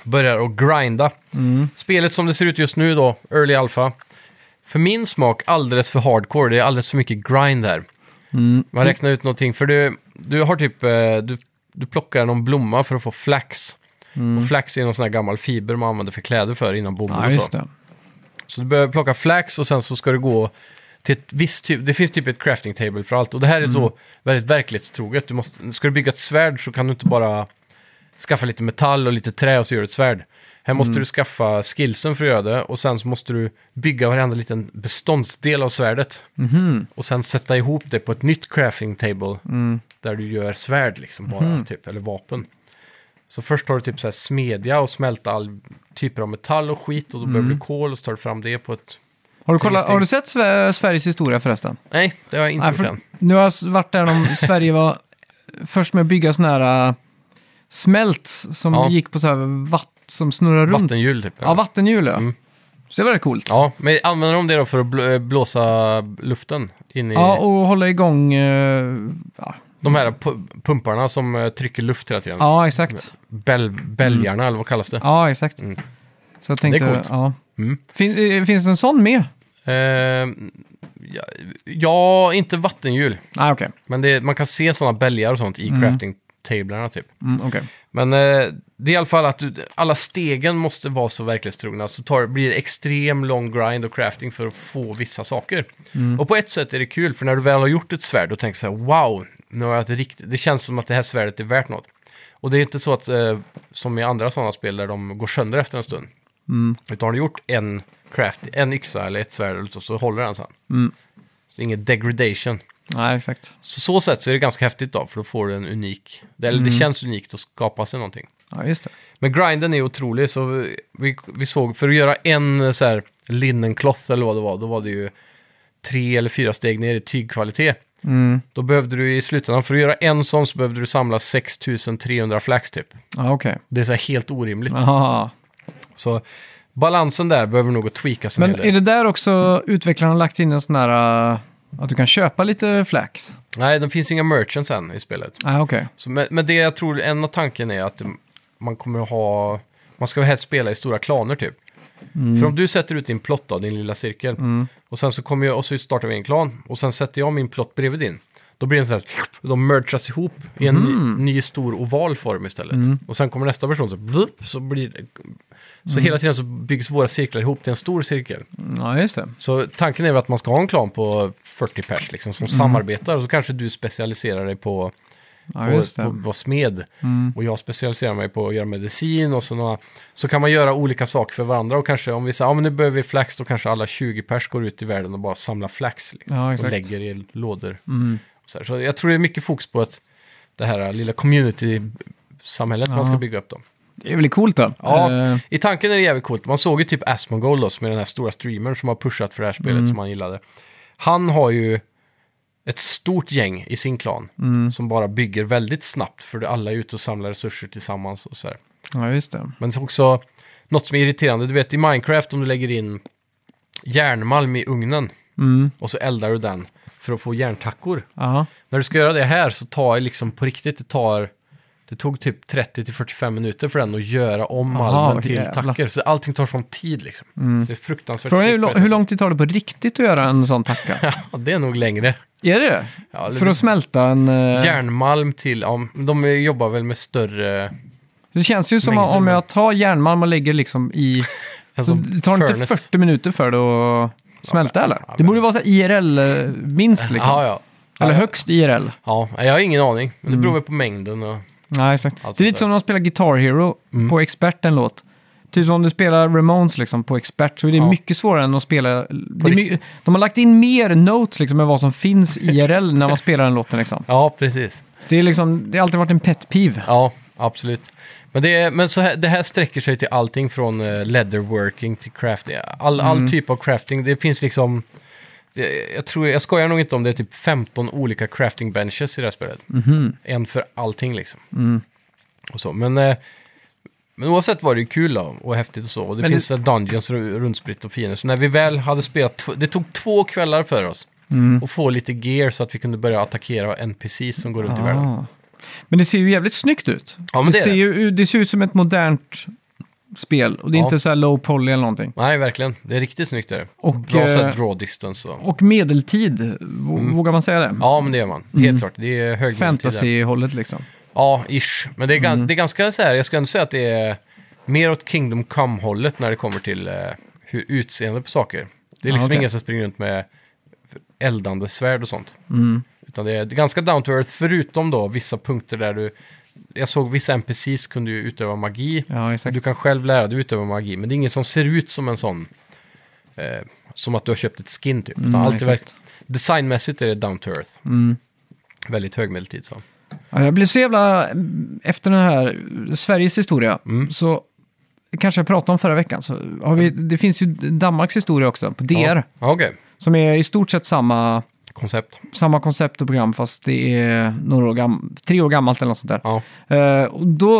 Speaker 2: börjar att grinda.
Speaker 1: Mm.
Speaker 2: Spelet som det ser ut just nu då, Early Alpha, för min smak alldeles för hardcore. Det är alldeles för mycket grind där.
Speaker 1: Mm.
Speaker 2: Man räknar ut någonting, för du, du har typ, eh, du, du plockar någon blomma för att få flax. Och flax är någon sån här gammal fiber man använder för kläder för innan bomull
Speaker 1: Mm. Ja,
Speaker 2: och så.
Speaker 1: just det.
Speaker 2: Så du behöver plocka flax och sen så ska du gå till ett visst typ, det finns typ ett crafting table för allt. Och det här är så väldigt verklighetstroget. Du måste, ska du bygga ett svärd så kan du inte bara skaffa lite metall och lite trä och så gör du ett svärd. Här måste du skaffa skillsen för att göra det och sen så måste du bygga varenda liten beståndsdel av svärdet. Och sen sätta ihop det på ett nytt crafting table där du gör svärd liksom bara, typ, eller vapen. Så först har du typ så här smedja och smälta all typer av metall och skit och då behöver
Speaker 1: Mm.
Speaker 2: du kol och så tar du fram det på ett...
Speaker 1: Har du, kollat,
Speaker 2: Steg.
Speaker 1: har du sett Sve- Sveriges historia förresten?
Speaker 2: Nej, det har jag inte
Speaker 1: Nej,
Speaker 2: gjort
Speaker 1: för,
Speaker 2: än.
Speaker 1: nu har jag s- varit där om Sverige var först med att bygga sådana här äh, smälts som
Speaker 2: Ja.
Speaker 1: gick på så här vatt som snurrar runt.
Speaker 2: Vattenhjul typ.
Speaker 1: Ja, vattenhjul ja.
Speaker 2: Mm.
Speaker 1: Så det var det coolt. Ja.
Speaker 2: ja, men använder de det då för att bl- eh, blåsa luften in i
Speaker 1: och hålla igång... eh, ja.
Speaker 2: de här pu- pumparna som eh, trycker luft hela tiden?
Speaker 1: ja, Mm. exakt.
Speaker 2: Bäl- bälgarna eller vad kallas det?
Speaker 1: Ja, exakt.
Speaker 2: Mm.
Speaker 1: Så jag tänkte...
Speaker 2: Det är coolt.
Speaker 1: Ja.
Speaker 2: Mm.
Speaker 1: Fin, eh, finns det en sån med?
Speaker 2: Eh, ja, ja, inte vattenhjul.
Speaker 1: Nej, okej.
Speaker 2: Men det, man kan se sådana bälgar och sånt i crafting tablarna typ.
Speaker 1: Mm, okej.
Speaker 2: Men eh, det är i alla fall att du, alla stegen måste vara så verklighetstrogna. Så tar, blir det extrem lång grind och crafting för att få vissa saker.
Speaker 1: Mm.
Speaker 2: Och på ett sätt är det kul, för när du väl har gjort ett svärd, då tänker du så här, wow, nu har jag ett riktigt, det känns som att det här svärdet är värt något. Och det är inte så att, eh, som i andra sådana spel, där de går sönder efter en stund.
Speaker 1: Mm.
Speaker 2: Utan har du gjort en craft, en yxa eller ett svärd, eller så, så håller den sen.
Speaker 1: Mm.
Speaker 2: Så inget degradation.
Speaker 1: Nej, exakt.
Speaker 2: Så så sätt så är det ganska häftigt då, för då får du en unik, eller
Speaker 1: Mm.
Speaker 2: det känns unikt att skapa sig någonting.
Speaker 1: Ja, just det.
Speaker 2: Men grinden är otrolig, så vi, vi såg, för att göra en eh, så här linnencloth eller vad det var, då var det ju tre eller fyra steg ner i tygkvalitet.
Speaker 1: Mm.
Speaker 2: Då behövde du i slutändan, för att göra en sån så behövde du samla 6300 flax typ.
Speaker 1: Ja, okej.
Speaker 2: Det är så här helt orimligt.
Speaker 1: Jaha.
Speaker 2: Så balansen där behöver nog att tweakas en
Speaker 1: Men
Speaker 2: hel del.
Speaker 1: är det där också utvecklarna har lagt in en sån här... äh, Att du kan köpa lite flax?
Speaker 2: Nej, det finns inga merchants än i spelet.
Speaker 1: Nej, ah, okej.
Speaker 2: Så, men, men det jag tror, en av tanken är att man kommer att ha, man ska helst spela i stora klaner typ. För om du sätter ut din plott då, din lilla cirkel, och sen så kommer jag, och så startar vi en klan, och sen sätter jag min plott bredvid din. Då blir det så här, de mergas ihop i en ny, ny stor oval form istället. Och sen kommer nästa person så, blup, så blir det, så hela tiden så byggs våra cirklar ihop till en stor cirkel.
Speaker 1: Ja, just det.
Speaker 2: Så tanken är väl att man ska ha en klan på 40 pers liksom, som samarbetar, och så kanske du specialiserar dig på
Speaker 1: Ja,
Speaker 2: på,
Speaker 1: just
Speaker 2: på,
Speaker 1: det. Mm.
Speaker 2: på smed. Och jag specialiserar mig på att göra medicin och sådana. Så kan man göra olika saker för varandra. Och kanske om vi säger, ja men nu behöver vi flax, då kanske alla 20 pers går ut i världen och bara samlar flax. Liksom,
Speaker 1: Ja,
Speaker 2: och
Speaker 1: exakt. Mm.
Speaker 2: lägger i lådor. Och så, här. så jag tror det är mycket fokus på att det här lilla community-samhället man ska
Speaker 1: Ja.
Speaker 2: bygga upp då.
Speaker 1: Det är väl coolt då?
Speaker 2: Ja,
Speaker 1: Eh,
Speaker 2: i tanken är det jävligt coolt. Man såg ju typ Asmongold då, som är den här stora streamern som har pushat för det här spelet
Speaker 1: Mm.
Speaker 2: som han gillade. Han har ju ett stort gäng i sin klan
Speaker 1: Mm.
Speaker 2: som bara bygger väldigt snabbt för alla är ute och samlar resurser tillsammans och så här.
Speaker 1: ja, just det.
Speaker 2: Men det är också något som är irriterande, du vet i Minecraft om du lägger in järnmalm i ugnen
Speaker 1: Mm.
Speaker 2: och så eldar du den för att få järntackor.
Speaker 1: Ja,
Speaker 2: När du ska göra det här så tar det liksom på riktigt, det tar... Det tog typ 30-45 minuter för den att göra om
Speaker 1: Aha,
Speaker 2: malmen
Speaker 1: vad
Speaker 2: till
Speaker 1: jävlar. Mm.
Speaker 2: tacker. Så allting tar sån tid liksom. Det är fruktansvärt.
Speaker 1: Frågan är hur,
Speaker 2: segt på
Speaker 1: lång,
Speaker 2: det
Speaker 1: hur lång tid tar det på riktigt att göra en sån tacka?
Speaker 2: sättet. Ja, det är nog längre.
Speaker 1: är det det?
Speaker 2: Ja,
Speaker 1: För att smälta en... eh,
Speaker 2: Järnmalm till, ja, de jobbar väl med större...
Speaker 1: Det känns ju som
Speaker 2: mängder
Speaker 1: om
Speaker 2: med-
Speaker 1: jag tar järnmalm och lägger liksom i...
Speaker 2: En
Speaker 1: Så
Speaker 2: sån
Speaker 1: det tar inte
Speaker 2: Alltså, furnace.
Speaker 1: 40 minuter för det att smälta eller?
Speaker 2: ja,
Speaker 1: Det
Speaker 2: men-
Speaker 1: borde vara så här IRL eh, minst liksom.
Speaker 2: Ja, ja.
Speaker 1: Eller
Speaker 2: Ja,
Speaker 1: högst IRL.
Speaker 2: Ja, jag har ingen aning. Men
Speaker 1: Mm.
Speaker 2: det beror väl på mängden och...
Speaker 1: Nej, exakt.
Speaker 2: Allt
Speaker 1: det är
Speaker 2: sånt
Speaker 1: lite
Speaker 2: där.
Speaker 1: som när man spelar Guitar Hero
Speaker 2: Mm.
Speaker 1: på expert en låt. Typ som om du spelar Ramones liksom, på expert så är det
Speaker 2: Ja.
Speaker 1: mycket svårare än att spela... Det är
Speaker 2: riktigt.
Speaker 1: my- de har lagt in mer notes liksom, än vad som finns IRL när man spelar den låten. Liksom.
Speaker 2: Ja, precis.
Speaker 1: Det, är liksom, det har alltid varit en pet peeve.
Speaker 2: Ja, absolut. Men, det, är, men så här, det här sträcker sig till allting från eh, leatherworking till crafting. All,
Speaker 1: Mm.
Speaker 2: all typ av crafting. Det finns liksom... Det, jag, tror, jag skojar nog inte om det är typ 15 olika crafting benches i det här spelet.
Speaker 1: Mhm.
Speaker 2: En för allting liksom.
Speaker 1: Mm.
Speaker 2: Och så. Men, eh, men oavsett var det ju kul då, och häftigt och så. Och det
Speaker 1: Men
Speaker 2: finns det... dungeons ru- rundspritt och fiender. Så när vi väl hade spelat... tv- Det tog två kvällar för oss.
Speaker 1: Mm.
Speaker 2: Och få lite gear så att vi kunde börja attackera NPCs som går runt i världen.
Speaker 1: Ah. Men det ser ju jävligt snyggt ut.
Speaker 2: Ja, men det är
Speaker 1: ser
Speaker 2: det.
Speaker 1: Ju, det ser ut som ett modernt spel och det är
Speaker 2: Ja.
Speaker 1: inte så här low poly eller någonting.
Speaker 2: Nej, verkligen. Det är riktigt snyggt där.
Speaker 1: Och,
Speaker 2: Bra så här
Speaker 1: eh,
Speaker 2: draw distance och...
Speaker 1: Och medeltid, v- vågar man säga det?
Speaker 2: Mm. Ja, men det gör man. Helt
Speaker 1: Mm.
Speaker 2: klart. Det är hög medeltid där.
Speaker 1: Fantasy-hållet liksom.
Speaker 2: Ja, ish. Men det är,
Speaker 1: Mm.
Speaker 2: gan- det är ganska så här, jag ska ändå säga att det är mer åt Kingdom Come-hållet när det kommer till eh, hur utseende på saker. Det är
Speaker 1: Ja,
Speaker 2: liksom
Speaker 1: okej.
Speaker 2: ingen som springer runt med eldande svärd och sånt.
Speaker 1: Mm.
Speaker 2: Utan det är ganska down to earth, förutom då vissa punkter där du... Jag såg vissa NPCs kunde ju utöva magi.
Speaker 1: Ja, exakt.
Speaker 2: Du kan själv lära dig utöva magi, men det är ingen som ser ut som en sån... Eh, som att du har köpt ett skin typ. Utan allt är verk-
Speaker 1: Mm, exakt. Mm.
Speaker 2: designmässigt är det down to earth. Väldigt högmedeltid så.
Speaker 1: Ja, jag blev så jävla... Efter den här Sveriges historia,
Speaker 2: Mm.
Speaker 1: så kanske jag pratade om förra veckan, så har vi, det finns ju Danmarks historia också, på DR,
Speaker 2: Ja, Ja, okej.
Speaker 1: som är i stort sett samma,
Speaker 2: Koncept.
Speaker 1: samma koncept och program, fast det är några år gam, tre år gammalt eller något sånt där.
Speaker 2: Ja.
Speaker 1: Eh, och då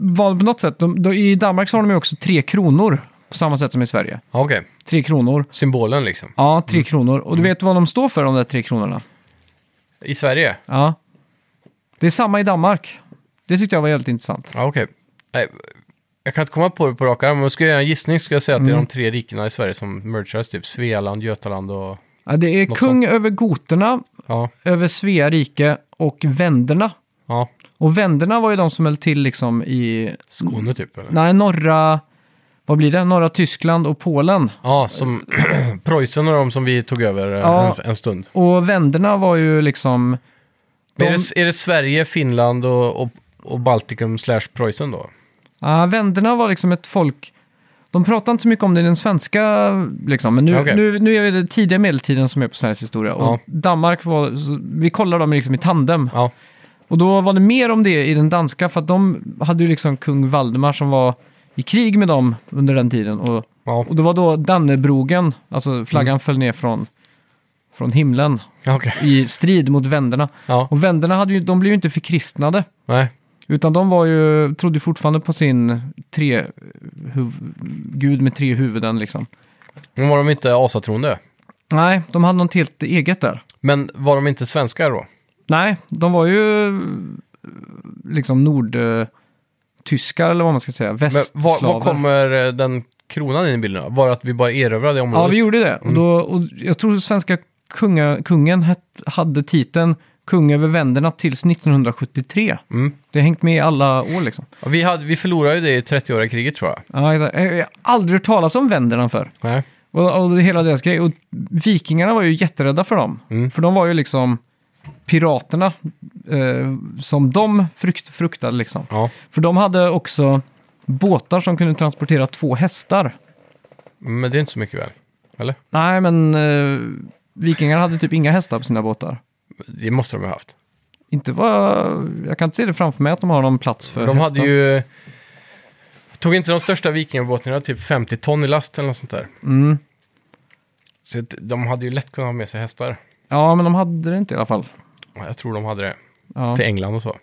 Speaker 1: var det på något sätt, de, då, i Danmark så har de ju också tre kronor, på samma sätt som i Sverige.
Speaker 2: Ja, okej.
Speaker 1: Tre kronor.
Speaker 2: Symbolen liksom.
Speaker 1: Ja, tre kronor. Och du
Speaker 2: Mm.
Speaker 1: vet vad de står för, de där tre kronorna?
Speaker 2: I Sverige?
Speaker 1: Ja. Det är samma i Danmark. Det tyckte jag var jävligt intressant.
Speaker 2: Ja, okej. Nej, Jag kan inte komma på det på rak arm, men ska jag göra en gissning skulle jag säga att
Speaker 1: Mm.
Speaker 2: det är de tre rikena i Sverige som merchas, typ Svealand, Götaland och...
Speaker 1: Ja, det är
Speaker 2: Något
Speaker 1: kung över goterna,
Speaker 2: Ja,
Speaker 1: över Svea rike och vänderna.
Speaker 2: ja.
Speaker 1: Och vänderna var ju de som höll till liksom i
Speaker 2: Skåne typ eller?
Speaker 1: nej, norra, vad blir det? norra Tyskland och Polen.
Speaker 2: Ja, som Preussen och de som vi tog över eh,
Speaker 1: Ja.
Speaker 2: en, en stund.
Speaker 1: Och vänderna var ju liksom...
Speaker 2: Men
Speaker 1: De-
Speaker 2: Är, det, är det Sverige, Finland och, och, och Baltikum slash Preussen då?
Speaker 1: Ja, vänderna var liksom ett folk... De pratar inte så mycket om det i den svenska, liksom, men nu,
Speaker 2: Okej.
Speaker 1: nu, nu är det tidiga medeltiden som är på Sveriges historia.
Speaker 2: Ja.
Speaker 1: Och Danmark var, så vi kollar dem liksom i tandem.
Speaker 2: Ja,
Speaker 1: Och då var det mer om det i den danska, för att de hade ju liksom kung Valdemar som var i krig med dem under den tiden. Och,
Speaker 2: ja.
Speaker 1: och det var då Dannebrogen, alltså flaggan föll ner från, från himlen
Speaker 2: ja okej.
Speaker 1: i strid mot vänderna.
Speaker 2: Ja,
Speaker 1: Och vänderna hade ju, de blev ju inte förkristnade.
Speaker 2: nej.
Speaker 1: Utan de var ju, trodde ju fortfarande på sin tre, huv, gud med tre huvuden liksom.
Speaker 2: Men var de inte asatroende?
Speaker 1: Nej, de hade något helt eget där.
Speaker 2: Men var de inte svenskar då?
Speaker 1: Nej, de var ju eh, liksom nordtyskar eller vad man ska säga,
Speaker 2: Men var,
Speaker 1: västslaver.
Speaker 2: var kommer eh, den kronan in i bilden? då? Var det att vi bara erövrade det området? Mm.
Speaker 1: Ja, vi gjorde det. Och, då, och jag tror svenska kunga, kungen het, hade titeln kung över vänderna tills 1973.
Speaker 2: Mm.
Speaker 1: Det har hängt med i alla år liksom.
Speaker 2: Ja, Vi, hade, vi förlorade ju det i 30-åriga kriget tror jag.
Speaker 1: Ja, exakt. jag jag har aldrig hört talas om vänderna förr.
Speaker 2: Nej.
Speaker 1: Och, och hela deras grej. Och vikingarna var ju jätterädda för dem.
Speaker 2: Mm.
Speaker 1: För de var ju liksom piraterna eh, som de frukt, fruktade liksom.
Speaker 2: Ja.
Speaker 1: För de hade också båtar som kunde transportera två hästar.
Speaker 2: Men det är inte så mycket väl? Eller?
Speaker 1: Nej, men eh, vikingarna hade typ inga hästar på sina båtar.
Speaker 2: Det måste de ha haft.
Speaker 1: Inte vad... Jag kan inte se det framför mig att de har någon plats för
Speaker 2: De hade
Speaker 1: hästar.
Speaker 2: ju... Tog inte de största vikingabåtarna typ 50 ton i last eller något sånt där?
Speaker 1: Mm.
Speaker 2: Så att de hade ju lätt kunnat ha med sig hästar.
Speaker 1: Ja, men de hade det inte i alla fall.
Speaker 2: Ja, Jag tror de hade det.
Speaker 1: Ja,
Speaker 2: Till England och så.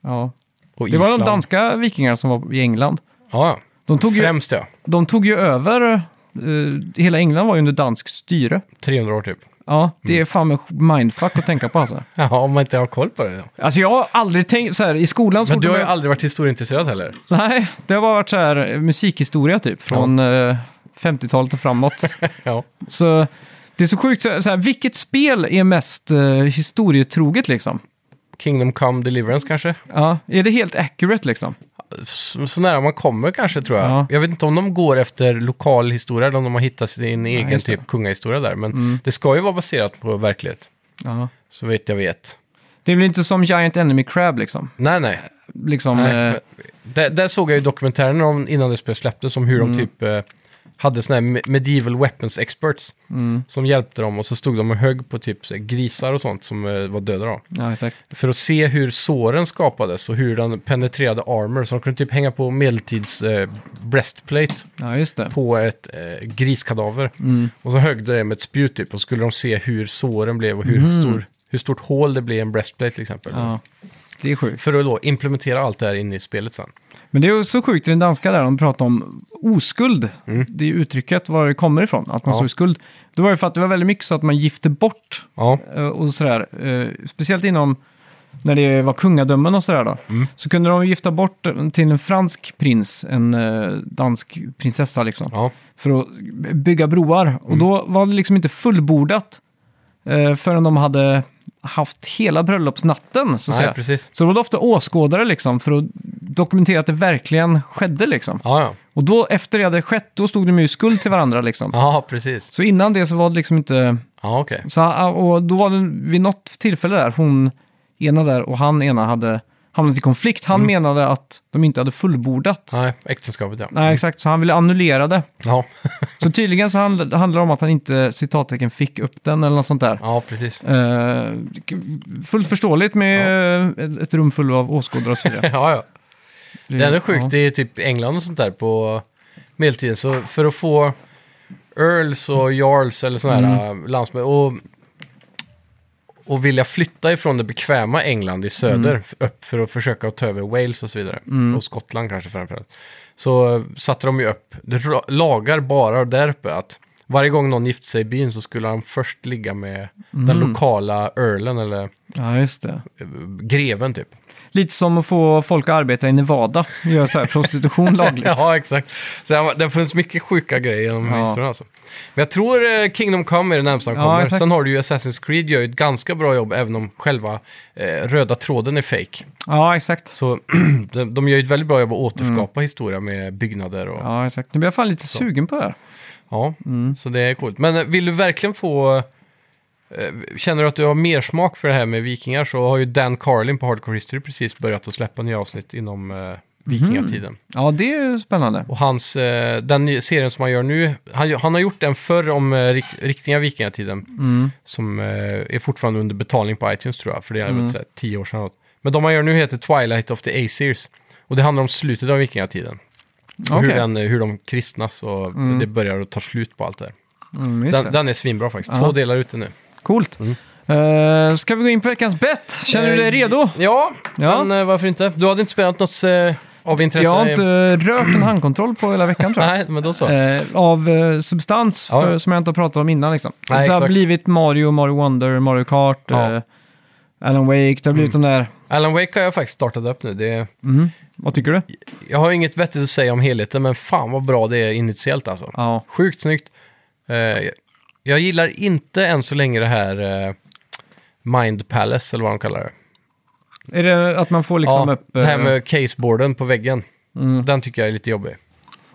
Speaker 1: ja.
Speaker 2: Och
Speaker 1: Det var de
Speaker 2: Island.
Speaker 1: danska vikingarna som var i England.
Speaker 2: Ja,
Speaker 1: De tog, ju,
Speaker 2: främst ja.
Speaker 1: de tog ju över... eh, hela England var ju under dansk styre.
Speaker 2: 300 år typ.
Speaker 1: Ja, det är fan med mindfuck att tänka på alltså.
Speaker 2: Ja, om man inte har koll på det. ja.
Speaker 1: Alltså jag har aldrig tänkt så här, i skolan så
Speaker 2: Men
Speaker 1: fort
Speaker 2: du har
Speaker 1: de-
Speaker 2: ju aldrig varit historieintresserad heller.
Speaker 1: Nej, det har bara varit så här eh, musikhistoria typ, från eh, 50-talet och framåt.
Speaker 2: Ja.
Speaker 1: så det är så sjukt, så här, så här, vilket spel är mest eh, historietroget liksom?
Speaker 2: Kingdom Come Deliverance kanske?
Speaker 1: Ja, är det helt accurate liksom?
Speaker 2: Så, så nära man kommer kanske tror jag.
Speaker 1: Ja.
Speaker 2: Jag vet inte om de går efter lokal historia eller om de har hittat sin egen
Speaker 1: just det. Mm.
Speaker 2: typ kungahistoria där. Men det ska ju vara baserat på verklighet.
Speaker 1: Ja.
Speaker 2: Så vet jag vet.
Speaker 1: Det blir inte som Giant Enemy Crab liksom.
Speaker 2: Nej, nej.
Speaker 1: liksom
Speaker 2: nej.
Speaker 1: eh,
Speaker 2: Men Där, där såg jag ju dokumentären om, innan det spelet släpptes om hur
Speaker 1: Mm.
Speaker 2: de typ eh, hade såna här me- medieval weapons experts
Speaker 1: Mm.
Speaker 2: som hjälpte dem och så stod de och högg på typ så här grisar och sånt som eh, var döda då.
Speaker 1: ja, exakt.
Speaker 2: För att se hur såren skapades och hur den penetrerade armor. Så de kunde typ hänga på medeltids eh, breastplate
Speaker 1: Ja, just det.
Speaker 2: på ett eh, griskadaver.
Speaker 1: Mm.
Speaker 2: Och så högg de det med ett spjut typ och så skulle de se hur såren blev och hur, stor, hur stort hål det blev i en breastplate till exempel.
Speaker 1: Mm. Ja. Det är sjukt.
Speaker 2: För att då implementera allt det här in i spelet sen.
Speaker 1: Men det är ju så sjukt i den danska där, de pratar om oskuld. Det är uttrycket var det kommer ifrån, att man
Speaker 2: Mm. Ja.
Speaker 1: såg skuld. Det var ju för att det var väldigt mycket så att man gifte bort
Speaker 2: Ja,
Speaker 1: eh, och sådär. eh, Speciellt inom när det var kungadömen och sådär då.
Speaker 2: Mm.
Speaker 1: Så kunde de gifta bort en- till en fransk prins, en eh, dansk prinsessa liksom.
Speaker 2: ja.
Speaker 1: För att b- bygga broar.
Speaker 2: Mm.
Speaker 1: Och då var det liksom inte fullbordat eh, förrän de hade haft hela bröllopsnatten. Så, att
Speaker 2: Nej,
Speaker 1: säga.
Speaker 2: precis.
Speaker 1: så det var det ofta åskådare liksom för att dokumentera att det verkligen skedde liksom.
Speaker 2: Ja, ja.
Speaker 1: Och då efter det hade skett, då stod de ju i skuld till varandra liksom.
Speaker 2: ja precis.
Speaker 1: Så innan det så var det liksom inte...
Speaker 2: Ja, okej.
Speaker 1: Så, ah, och då var det vid något tillfälle där, hon ena där och han ena hade hamnat i konflikt.
Speaker 2: Mm.
Speaker 1: Han menade att de inte hade fullbordat.
Speaker 2: Nej, äktenskapet ja.
Speaker 1: Nej, exakt. Så han ville annullera det.
Speaker 2: Ja,
Speaker 1: Så tydligen så handl- handlar det om att han inte citattecken fick upp den eller något sånt där.
Speaker 2: ja precis.
Speaker 1: Eh, k- fullt förståeligt med eh, ett, ett rum fullt av åskådare och så vidare.
Speaker 2: Ja, ja. Det är ändå sjukt
Speaker 1: Mm, Ja.
Speaker 2: det är typ England och sånt där på medeltiden. Så för att få earls och jarls eller sådana här äh, landsmän och, och vilja flytta ifrån det bekväma England i söder f- upp för att försöka att ta över Wales och så vidare. Och Skottland kanske framförallt. Så eh, satte de ju upp det ra- lagar bara där uppe att varje gång någon gifte sig i byn så skulle han först ligga med den lokala earlen eller
Speaker 1: Ja, just det.
Speaker 2: eh, greven typ.
Speaker 1: Lite som att få folk att arbeta i Nevada. Göra så här prostitution lagligt.
Speaker 2: Ja, exakt. Så det, var- det finns mycket sjuka grejer genom
Speaker 1: Ja.
Speaker 2: historien alltså. Men jag tror eh, Kingdom Come är det närmsta de
Speaker 1: Ja,
Speaker 2: kommer.
Speaker 1: exakt.
Speaker 2: Sen har du ju Assassin's Creed gör ju ett ganska bra jobb även om själva eh, röda tråden är fake.
Speaker 1: Ja, exakt.
Speaker 2: Så de, de gör ju ett väldigt bra jobb att återskapa historia med byggnader och ja.
Speaker 1: Mm. Ja, Mm. exakt. Nu blir jag fan lite sugen på det här.
Speaker 2: Så det är coolt. Men eh, vill du verkligen få... eh, Känner du att du har mer smak för det här med vikingar så har ju Dan Carlin på Hardcore History precis börjat att släppa nya avsnitt inom
Speaker 1: Mhm.
Speaker 2: eh, vikingatiden.
Speaker 1: Ja, det är ju spännande.
Speaker 2: Och hans, eh, den ny- serien som han gör nu, han, han har gjort en förr om eh, rikt, riktiga vikingatiden.
Speaker 1: Mm.
Speaker 2: Som eh, är fortfarande under betalning på iTunes tror jag, för det är
Speaker 1: Mm.
Speaker 2: väl så här tio år sedan. Men de han gör nu heter Twilight of the Aesir's. Och det handlar om slutet av vikingatiden. Och hur,
Speaker 1: Okej.
Speaker 2: den, eh, hur de kristnas och det börjar att ta slut på allt det där.
Speaker 1: Mm, just
Speaker 2: Den, Mm.
Speaker 1: det.
Speaker 2: den är svinbra faktiskt.
Speaker 1: Ja.
Speaker 2: Två delar ute nu.
Speaker 1: Coolt. Eh, ska vi gå in på veckans bett? Känner du dig redo?
Speaker 2: Eh, Ja,
Speaker 1: Ja.
Speaker 2: men eh, varför inte? Du hade inte spelat något eh, av intresse?
Speaker 1: Jag har inte rört en handkontroll på hela veckan tror jag.
Speaker 2: Nej, men då så.
Speaker 1: Eh, av eh, substans
Speaker 2: Ja.
Speaker 1: för, som jag inte har pratat om innan. Liksom.
Speaker 2: Nej,
Speaker 1: det har
Speaker 2: exakt.
Speaker 1: blivit Mario, Mario Wonder, Mario Kart,
Speaker 2: Ja. Mm.
Speaker 1: eh, Alan Wake. Det har blivit de där...
Speaker 2: Alan Wake har jag faktiskt startat upp nu. Det,
Speaker 1: Mm. Vad tycker du?
Speaker 2: jag har inget vettigt att säga om helheten, men fan vad bra det är initiellt alltså.
Speaker 1: Ja,
Speaker 2: Sjukt snyggt. Eh, jag gillar inte än så länge det här eh, Mind Palace, eller vad de kallar det.
Speaker 1: är det att man får liksom
Speaker 2: ja,
Speaker 1: upp...
Speaker 2: det här
Speaker 1: eh,
Speaker 2: med caseboarden på väggen.
Speaker 1: Mm.
Speaker 2: Den tycker jag är lite jobbig.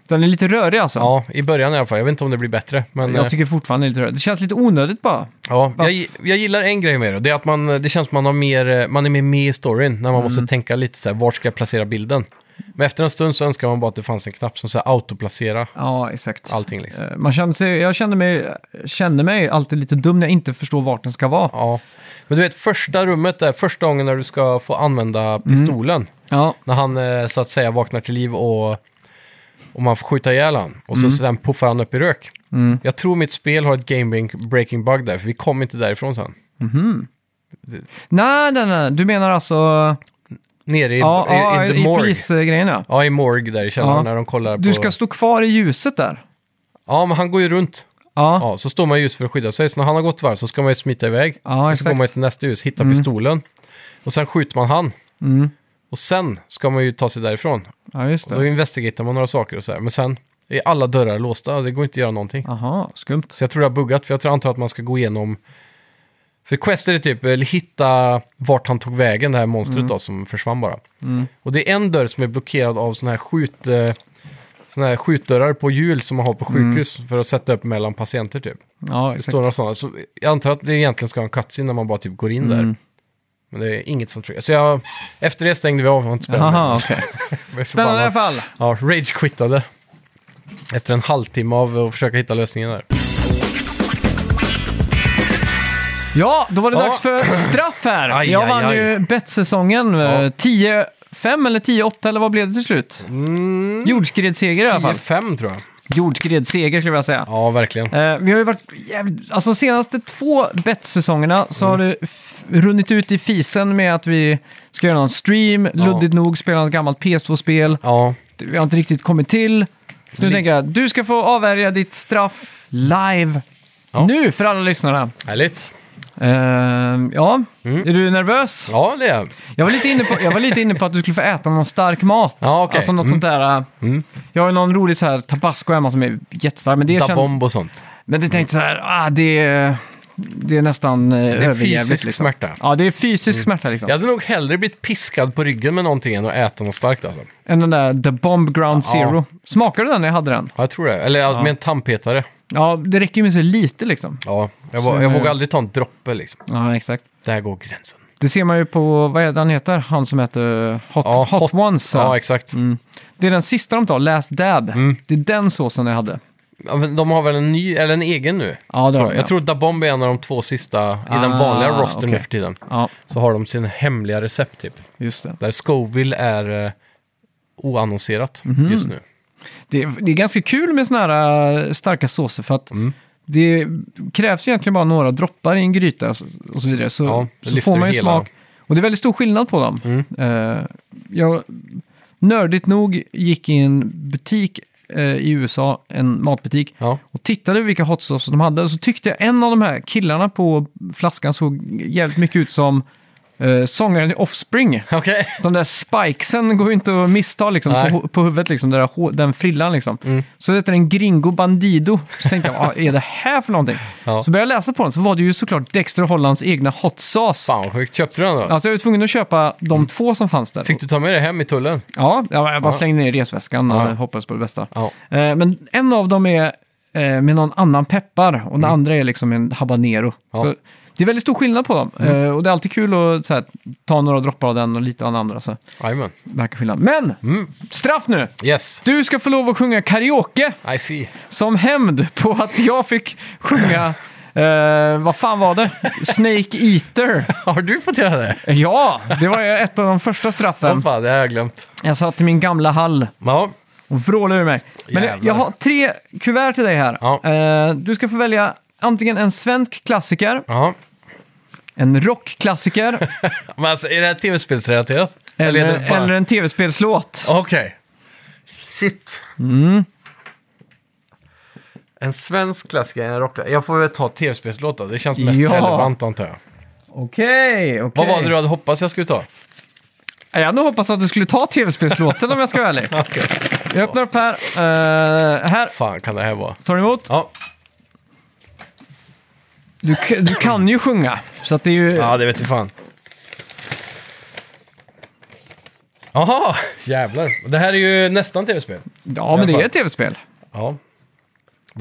Speaker 1: Den är lite rörig alltså.
Speaker 2: Ja, i början i alla fall. Jag vet inte om det blir bättre. Men, eh,
Speaker 1: Jag tycker fortfarande det är lite rörig. Det känns lite onödigt bara.
Speaker 2: Ja, jag, gi- jag gillar en grej med det. Det är att man, det känns som man, har mer, eh, man är mer med i storyn. När man
Speaker 1: Mm.
Speaker 2: måste tänka lite så här, vart ska jag placera bilden? Men efter en stund så önskar man bara att det fanns en knapp som så här, autoplacera
Speaker 1: Ja, exakt.
Speaker 2: allting liksom.
Speaker 1: Eh, Man känner sig, jag känner mig, känner mig alltid lite dum när jag inte förstår vart den ska vara.
Speaker 2: Ja. Men du vet, första rummet där, första gången när du ska få
Speaker 1: Mm.
Speaker 2: använda pistolen.
Speaker 1: Ja,
Speaker 2: När han eh, så att säga vaknar till liv och, och man får skjuta ihjäl han. Och så sen puffar han upp i rök.
Speaker 1: Mm.
Speaker 2: Jag tror mitt spel har ett game-breaking bug där, för vi kom inte därifrån sen.
Speaker 1: nej, nej, nej. Du menar alltså...
Speaker 2: Nere i,
Speaker 1: ja,
Speaker 2: i,
Speaker 1: ja,
Speaker 2: i, the
Speaker 1: i
Speaker 2: morgue.
Speaker 1: polisgrejen ja.
Speaker 2: Ja, i morgue där i källaren
Speaker 1: Ja.
Speaker 2: när de kollar på...
Speaker 1: Du ska stå kvar i ljuset där.
Speaker 2: Ja, men han går ju runt.
Speaker 1: Ja,
Speaker 2: Ja, så står man just för att skydda sig. Så när han har gått varv så ska man ju smita iväg.
Speaker 1: Ja,
Speaker 2: och så går
Speaker 1: exakt.
Speaker 2: man till nästa hus, hittar pistolen. Och sen skjuter man han.
Speaker 1: Mm.
Speaker 2: Och sen ska man ju ta sig därifrån.
Speaker 1: ja just
Speaker 2: Då
Speaker 1: det.
Speaker 2: investigerar man några saker och så här. Men sen är alla dörrar låsta och det går inte att göra någonting.
Speaker 1: Jaha, skumt.
Speaker 2: Så jag tror det har buggat, för jag tror antar att man ska gå igenom... För Quester är typ, eller hitta vart han tog vägen, det här monstret
Speaker 1: Mm.
Speaker 2: då, som försvann bara. Och det är en dörr som är blockerad av sådana här skjut... eh, Såna här skjutdörrar på hjul som man har på sjukhus för att sätta upp mellan patienter typ.
Speaker 1: Ja,
Speaker 2: Det
Speaker 1: Mm. exakt.
Speaker 2: står några sådana. Så jag antar att det egentligen ska ha en cutscene när man bara typ går in
Speaker 1: Mm.
Speaker 2: där. Men det är inget som tror jag. Så jag, efter det stängde vi av, jag har inte spelat
Speaker 1: Jaha,
Speaker 2: mer.
Speaker 1: okej.
Speaker 2: Jag blev förbannad.
Speaker 1: Spännande i alla fall.
Speaker 2: Ja, Rage quittade. Efter en halvtimme av att försöka hitta lösningen där.
Speaker 1: Ja, då var det
Speaker 2: Ja.
Speaker 1: dags för straff här.
Speaker 2: Aj,
Speaker 1: jag
Speaker 2: aj,
Speaker 1: vann
Speaker 2: aj.
Speaker 1: ju bettsäsongen.
Speaker 2: Ja.
Speaker 1: eh, 10-5 eller 10-8 eller vad blev det till slut?
Speaker 2: Mm,
Speaker 1: Jordskredsseger i alla fall.
Speaker 2: 10-5 tror jag.
Speaker 1: Jordskredsseger skulle jag vilja säga.
Speaker 2: Ja, verkligen.
Speaker 1: Eh, vi har ju varit jävligt... Alltså de senaste två bettsäsongerna så
Speaker 2: Mm.
Speaker 1: har det f- runnit ut i fisen med att vi ska göra någon stream, luddigt nog spela något gammalt PS2-spel.
Speaker 2: Ja,
Speaker 1: Vi har inte riktigt kommit till. Så nu tänker jag, du ska få avvärja ditt straff live
Speaker 2: Ja.
Speaker 1: nu för alla lyssnarna.
Speaker 2: härligt.
Speaker 1: Ehm, ja,
Speaker 2: Mm.
Speaker 1: är du nervös?
Speaker 2: Ja, det är jag.
Speaker 1: Jag var, lite inne på, jag var lite inne på att du skulle få äta någon stark mat.
Speaker 2: Ja, okej.
Speaker 1: Alltså något sånt
Speaker 2: Mm.
Speaker 1: där. äh,
Speaker 2: Mm.
Speaker 1: Jag har ju någon rolig så här tabasco hemma som är jättestark. Men det,
Speaker 2: Da
Speaker 1: känd,
Speaker 2: bomb och sånt.
Speaker 1: men det tänkte så här, ah, det, är- det är nästan det
Speaker 2: Det är
Speaker 1: överjävligt.
Speaker 2: fysisk Mm.
Speaker 1: liksom.
Speaker 2: smärta.
Speaker 1: Ja, det är fysisk smärta liksom.
Speaker 2: Jag hade nog hellre blivit piskad på ryggen med någonting än att äta något starkt alltså.
Speaker 1: Än den där The Bomb Ground
Speaker 2: Ja.
Speaker 1: Zero. Smakade du den när jag hade den?
Speaker 2: Ja, jag tror det. Eller ja. med en tandpetare.
Speaker 1: Ja, det räcker ju med så lite liksom.
Speaker 2: Ja, jag, vå-
Speaker 1: Så-
Speaker 2: jag vågar aldrig ta en droppe liksom.
Speaker 1: Ja, exakt.
Speaker 2: Där går gränsen.
Speaker 1: Det ser man ju på, vad är det han heter? Han som heter Hot,
Speaker 2: Ja,
Speaker 1: Hot,
Speaker 2: Hot-
Speaker 1: Ones.
Speaker 2: Ja, Mm. exakt.
Speaker 1: Mm. Det är den sista de tar, Last Dab. Det är den såsen jag hade.
Speaker 2: Ja, men de har väl en ny, eller en egen nu?
Speaker 1: Ja, det har
Speaker 2: tror jag.
Speaker 1: de,
Speaker 2: jag
Speaker 1: ja.
Speaker 2: tror Da Bomb är en av de två sista i den
Speaker 1: Ah,
Speaker 2: vanliga rosten nu
Speaker 1: okej.
Speaker 2: för tiden.
Speaker 1: Ja,
Speaker 2: Så har de sin hemliga recept typ.
Speaker 1: just det.
Speaker 2: Där Scoville är eh, oannonserat just nu.
Speaker 1: Det är, det är ganska kul med såna här äh, starka såser för att
Speaker 2: Mm.
Speaker 1: det krävs ju egentligen bara några droppar i en gryta och så, och så vidare. Så,
Speaker 2: Ja, det
Speaker 1: så
Speaker 2: lyfter
Speaker 1: får man ju
Speaker 2: hela. Mm.
Speaker 1: smak. Och det är väldigt stor skillnad på dem. Eh, jag, nördigt nog gick i en butik eh, i USA, en matbutik,
Speaker 2: Ja.
Speaker 1: och tittade vilka hot sauce de hade. Så tyckte jag en av de här killarna på flaskan såg jävligt mycket ut som eh, sångaren i Offspring.
Speaker 2: Okej.
Speaker 1: De där spikesen går ju inte att missta liksom,
Speaker 2: Nej. Mm.
Speaker 1: på, hu- på huvudet, liksom, det där, hå- den frillan. Liksom. Så heter den Gringo Bandido. Så tänkte jag, vad är det här för någonting?
Speaker 2: Ja.
Speaker 1: Så började jag läsa på den, så var det ju såklart Dexter Hollands egna hot sauce.
Speaker 2: Fan vad sjukt. Köpte du den då?
Speaker 1: Alltså jag var tvungen att köpa de två som fanns där.
Speaker 2: Fick du ta med dig hem i tullen?
Speaker 1: Ja, jag bara slängde ner i resväskan och
Speaker 2: Ja.
Speaker 1: hoppades på det bästa.
Speaker 2: Ja.
Speaker 1: Eh, Men en av dem är eh, med någon annan peppar och den andra är liksom en habanero.
Speaker 2: Mm. Ja. Mm.
Speaker 1: Så det är väldigt stor skillnad på dem. Eh, Och det är alltid kul att så här, ta några droppar av den och lite av den andra. Så
Speaker 2: Jajamän.
Speaker 1: märker skillnad. Men! Straff nu!
Speaker 2: Yes.
Speaker 1: Du ska få lov att sjunga karaoke
Speaker 2: Nej fy.
Speaker 1: som hämnd på att jag fick sjunga, eh, vad fan var det? Snake Eater.
Speaker 2: Har du fått göra det?
Speaker 1: Ja, det var ju ett av de första straffen.
Speaker 2: Vad fan, det har jag glömt.
Speaker 1: Jag satt i min gamla hall
Speaker 2: Ja,
Speaker 1: och vrålade ur mig. Men
Speaker 2: Jävlar.
Speaker 1: jag har tre kuvert till dig här.
Speaker 2: Ja.
Speaker 1: Eh, du ska få välja antingen en svensk klassiker
Speaker 2: ja.
Speaker 1: en rockklassiker
Speaker 2: Men alltså, är det här tv-spelsrelaterat?
Speaker 1: eller,
Speaker 2: är det bara-
Speaker 1: eller en tv-spelslåt.
Speaker 2: Okej. Shit. Mm. En svensk klassiker, en rock. Jag får väl ta tv-spelslåt då. Det känns mest
Speaker 1: Ja.
Speaker 2: relevant antar jag.
Speaker 1: Okej, okej.
Speaker 2: Vad var det du hade hoppats jag skulle ta?
Speaker 1: Jag hade nog hoppats att du skulle ta tv-spelslåten om jag ska vara ärlig.
Speaker 2: Okej.
Speaker 1: Jag öppnar upp här. Eh, här,
Speaker 2: fan kan det här vara?
Speaker 1: tar ni emot?
Speaker 2: Ja,
Speaker 1: Du, k- du kan ju sjunga, så att det är ju...
Speaker 2: ja det vet du fan. Jaha, jävlar. Det här är ju nästan tv-spel.
Speaker 1: Ja, men det är ett tv-spel.
Speaker 2: Ja. Mm.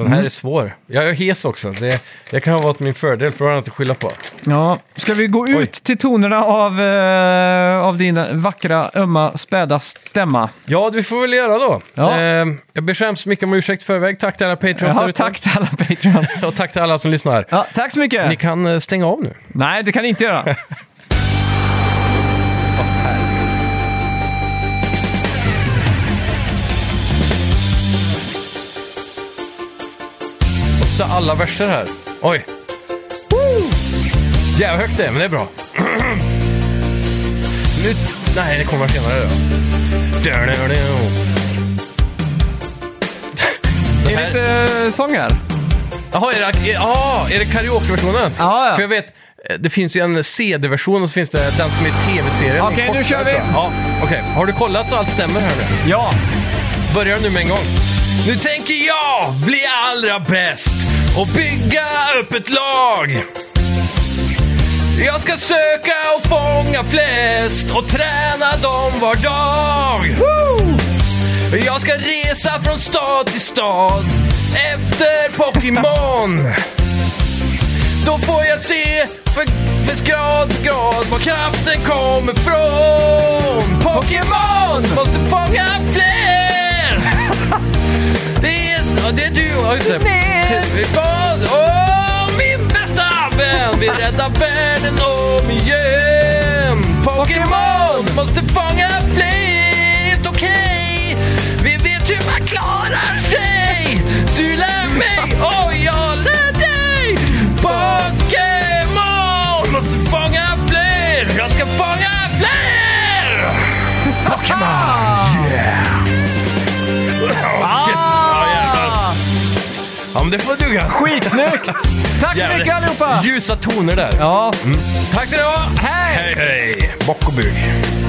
Speaker 2: Den här är svår. Jag är hes också. Det, det kan ha varit min fördel, för då har jag inte att skylla på.
Speaker 1: Ja. Ska vi gå ut till tonerna av, eh, av din vackra, ömma, späda stämma?
Speaker 2: Ja, det får vi väl göra då.
Speaker 1: Ja.
Speaker 2: Eh, jag ber så hemskt mycket om ursäkt i förväg. Tack till alla Patreons där
Speaker 1: Ja,
Speaker 2: ute.
Speaker 1: tack till alla Patreon.
Speaker 2: Och tack till alla som lyssnar.
Speaker 1: Ja, tack så mycket!
Speaker 2: Ni kan eh, stänga av nu.
Speaker 1: Nej, det kan ni inte göra.
Speaker 2: Och så alla verser här. Oj! Woo! Jävla högt det är, men det är bra. nu... Nej, det kommer senare då. Du-du-du.
Speaker 1: Det är lite eh, sång här.
Speaker 2: Jaha, är det, ah, är det karaokeversionen?
Speaker 1: Ja, ja.
Speaker 2: För jag vet, eh, det finns ju en CD-version och så finns det den som är tv-serien.
Speaker 1: Okej,
Speaker 2: Den
Speaker 1: nu kör vi.
Speaker 2: kortare, tror jag. Ja, okej. Har du kollat så allt stämmer här nu?
Speaker 1: Ja,
Speaker 2: Börjar nu med en gång. Nu tänker jag bli allra bäst och bygga upp ett lag. Jag ska söka och fånga flest och träna dem var dag. Jag ska resa från stad till stad efter Pokémon. Då får jag se för, för grad för grad var kraften kommer från. Pokémon måste fånga fler. Det är, ja, det är du, ja just det. Tillbaka- Åh, min bästa vän vill rädda världen om igen. Pokémon måste fånga fler, helt okej. Vi vet hur man klarar sig. Du lär mig och jag lär dig. Pokémon måste fånga fler. Jag ska fånga fler. Pokémon, yeah! Oh, shit. Ja,
Speaker 1: Ah!
Speaker 2: jävlar. Ja, men det får duga.
Speaker 1: skitsnyggt! Tack så mycket allihopa!
Speaker 2: Ljusa toner där.
Speaker 1: Ja,
Speaker 2: Tack ska du ha.
Speaker 1: hej!
Speaker 2: Hej, hej. Bock och bug.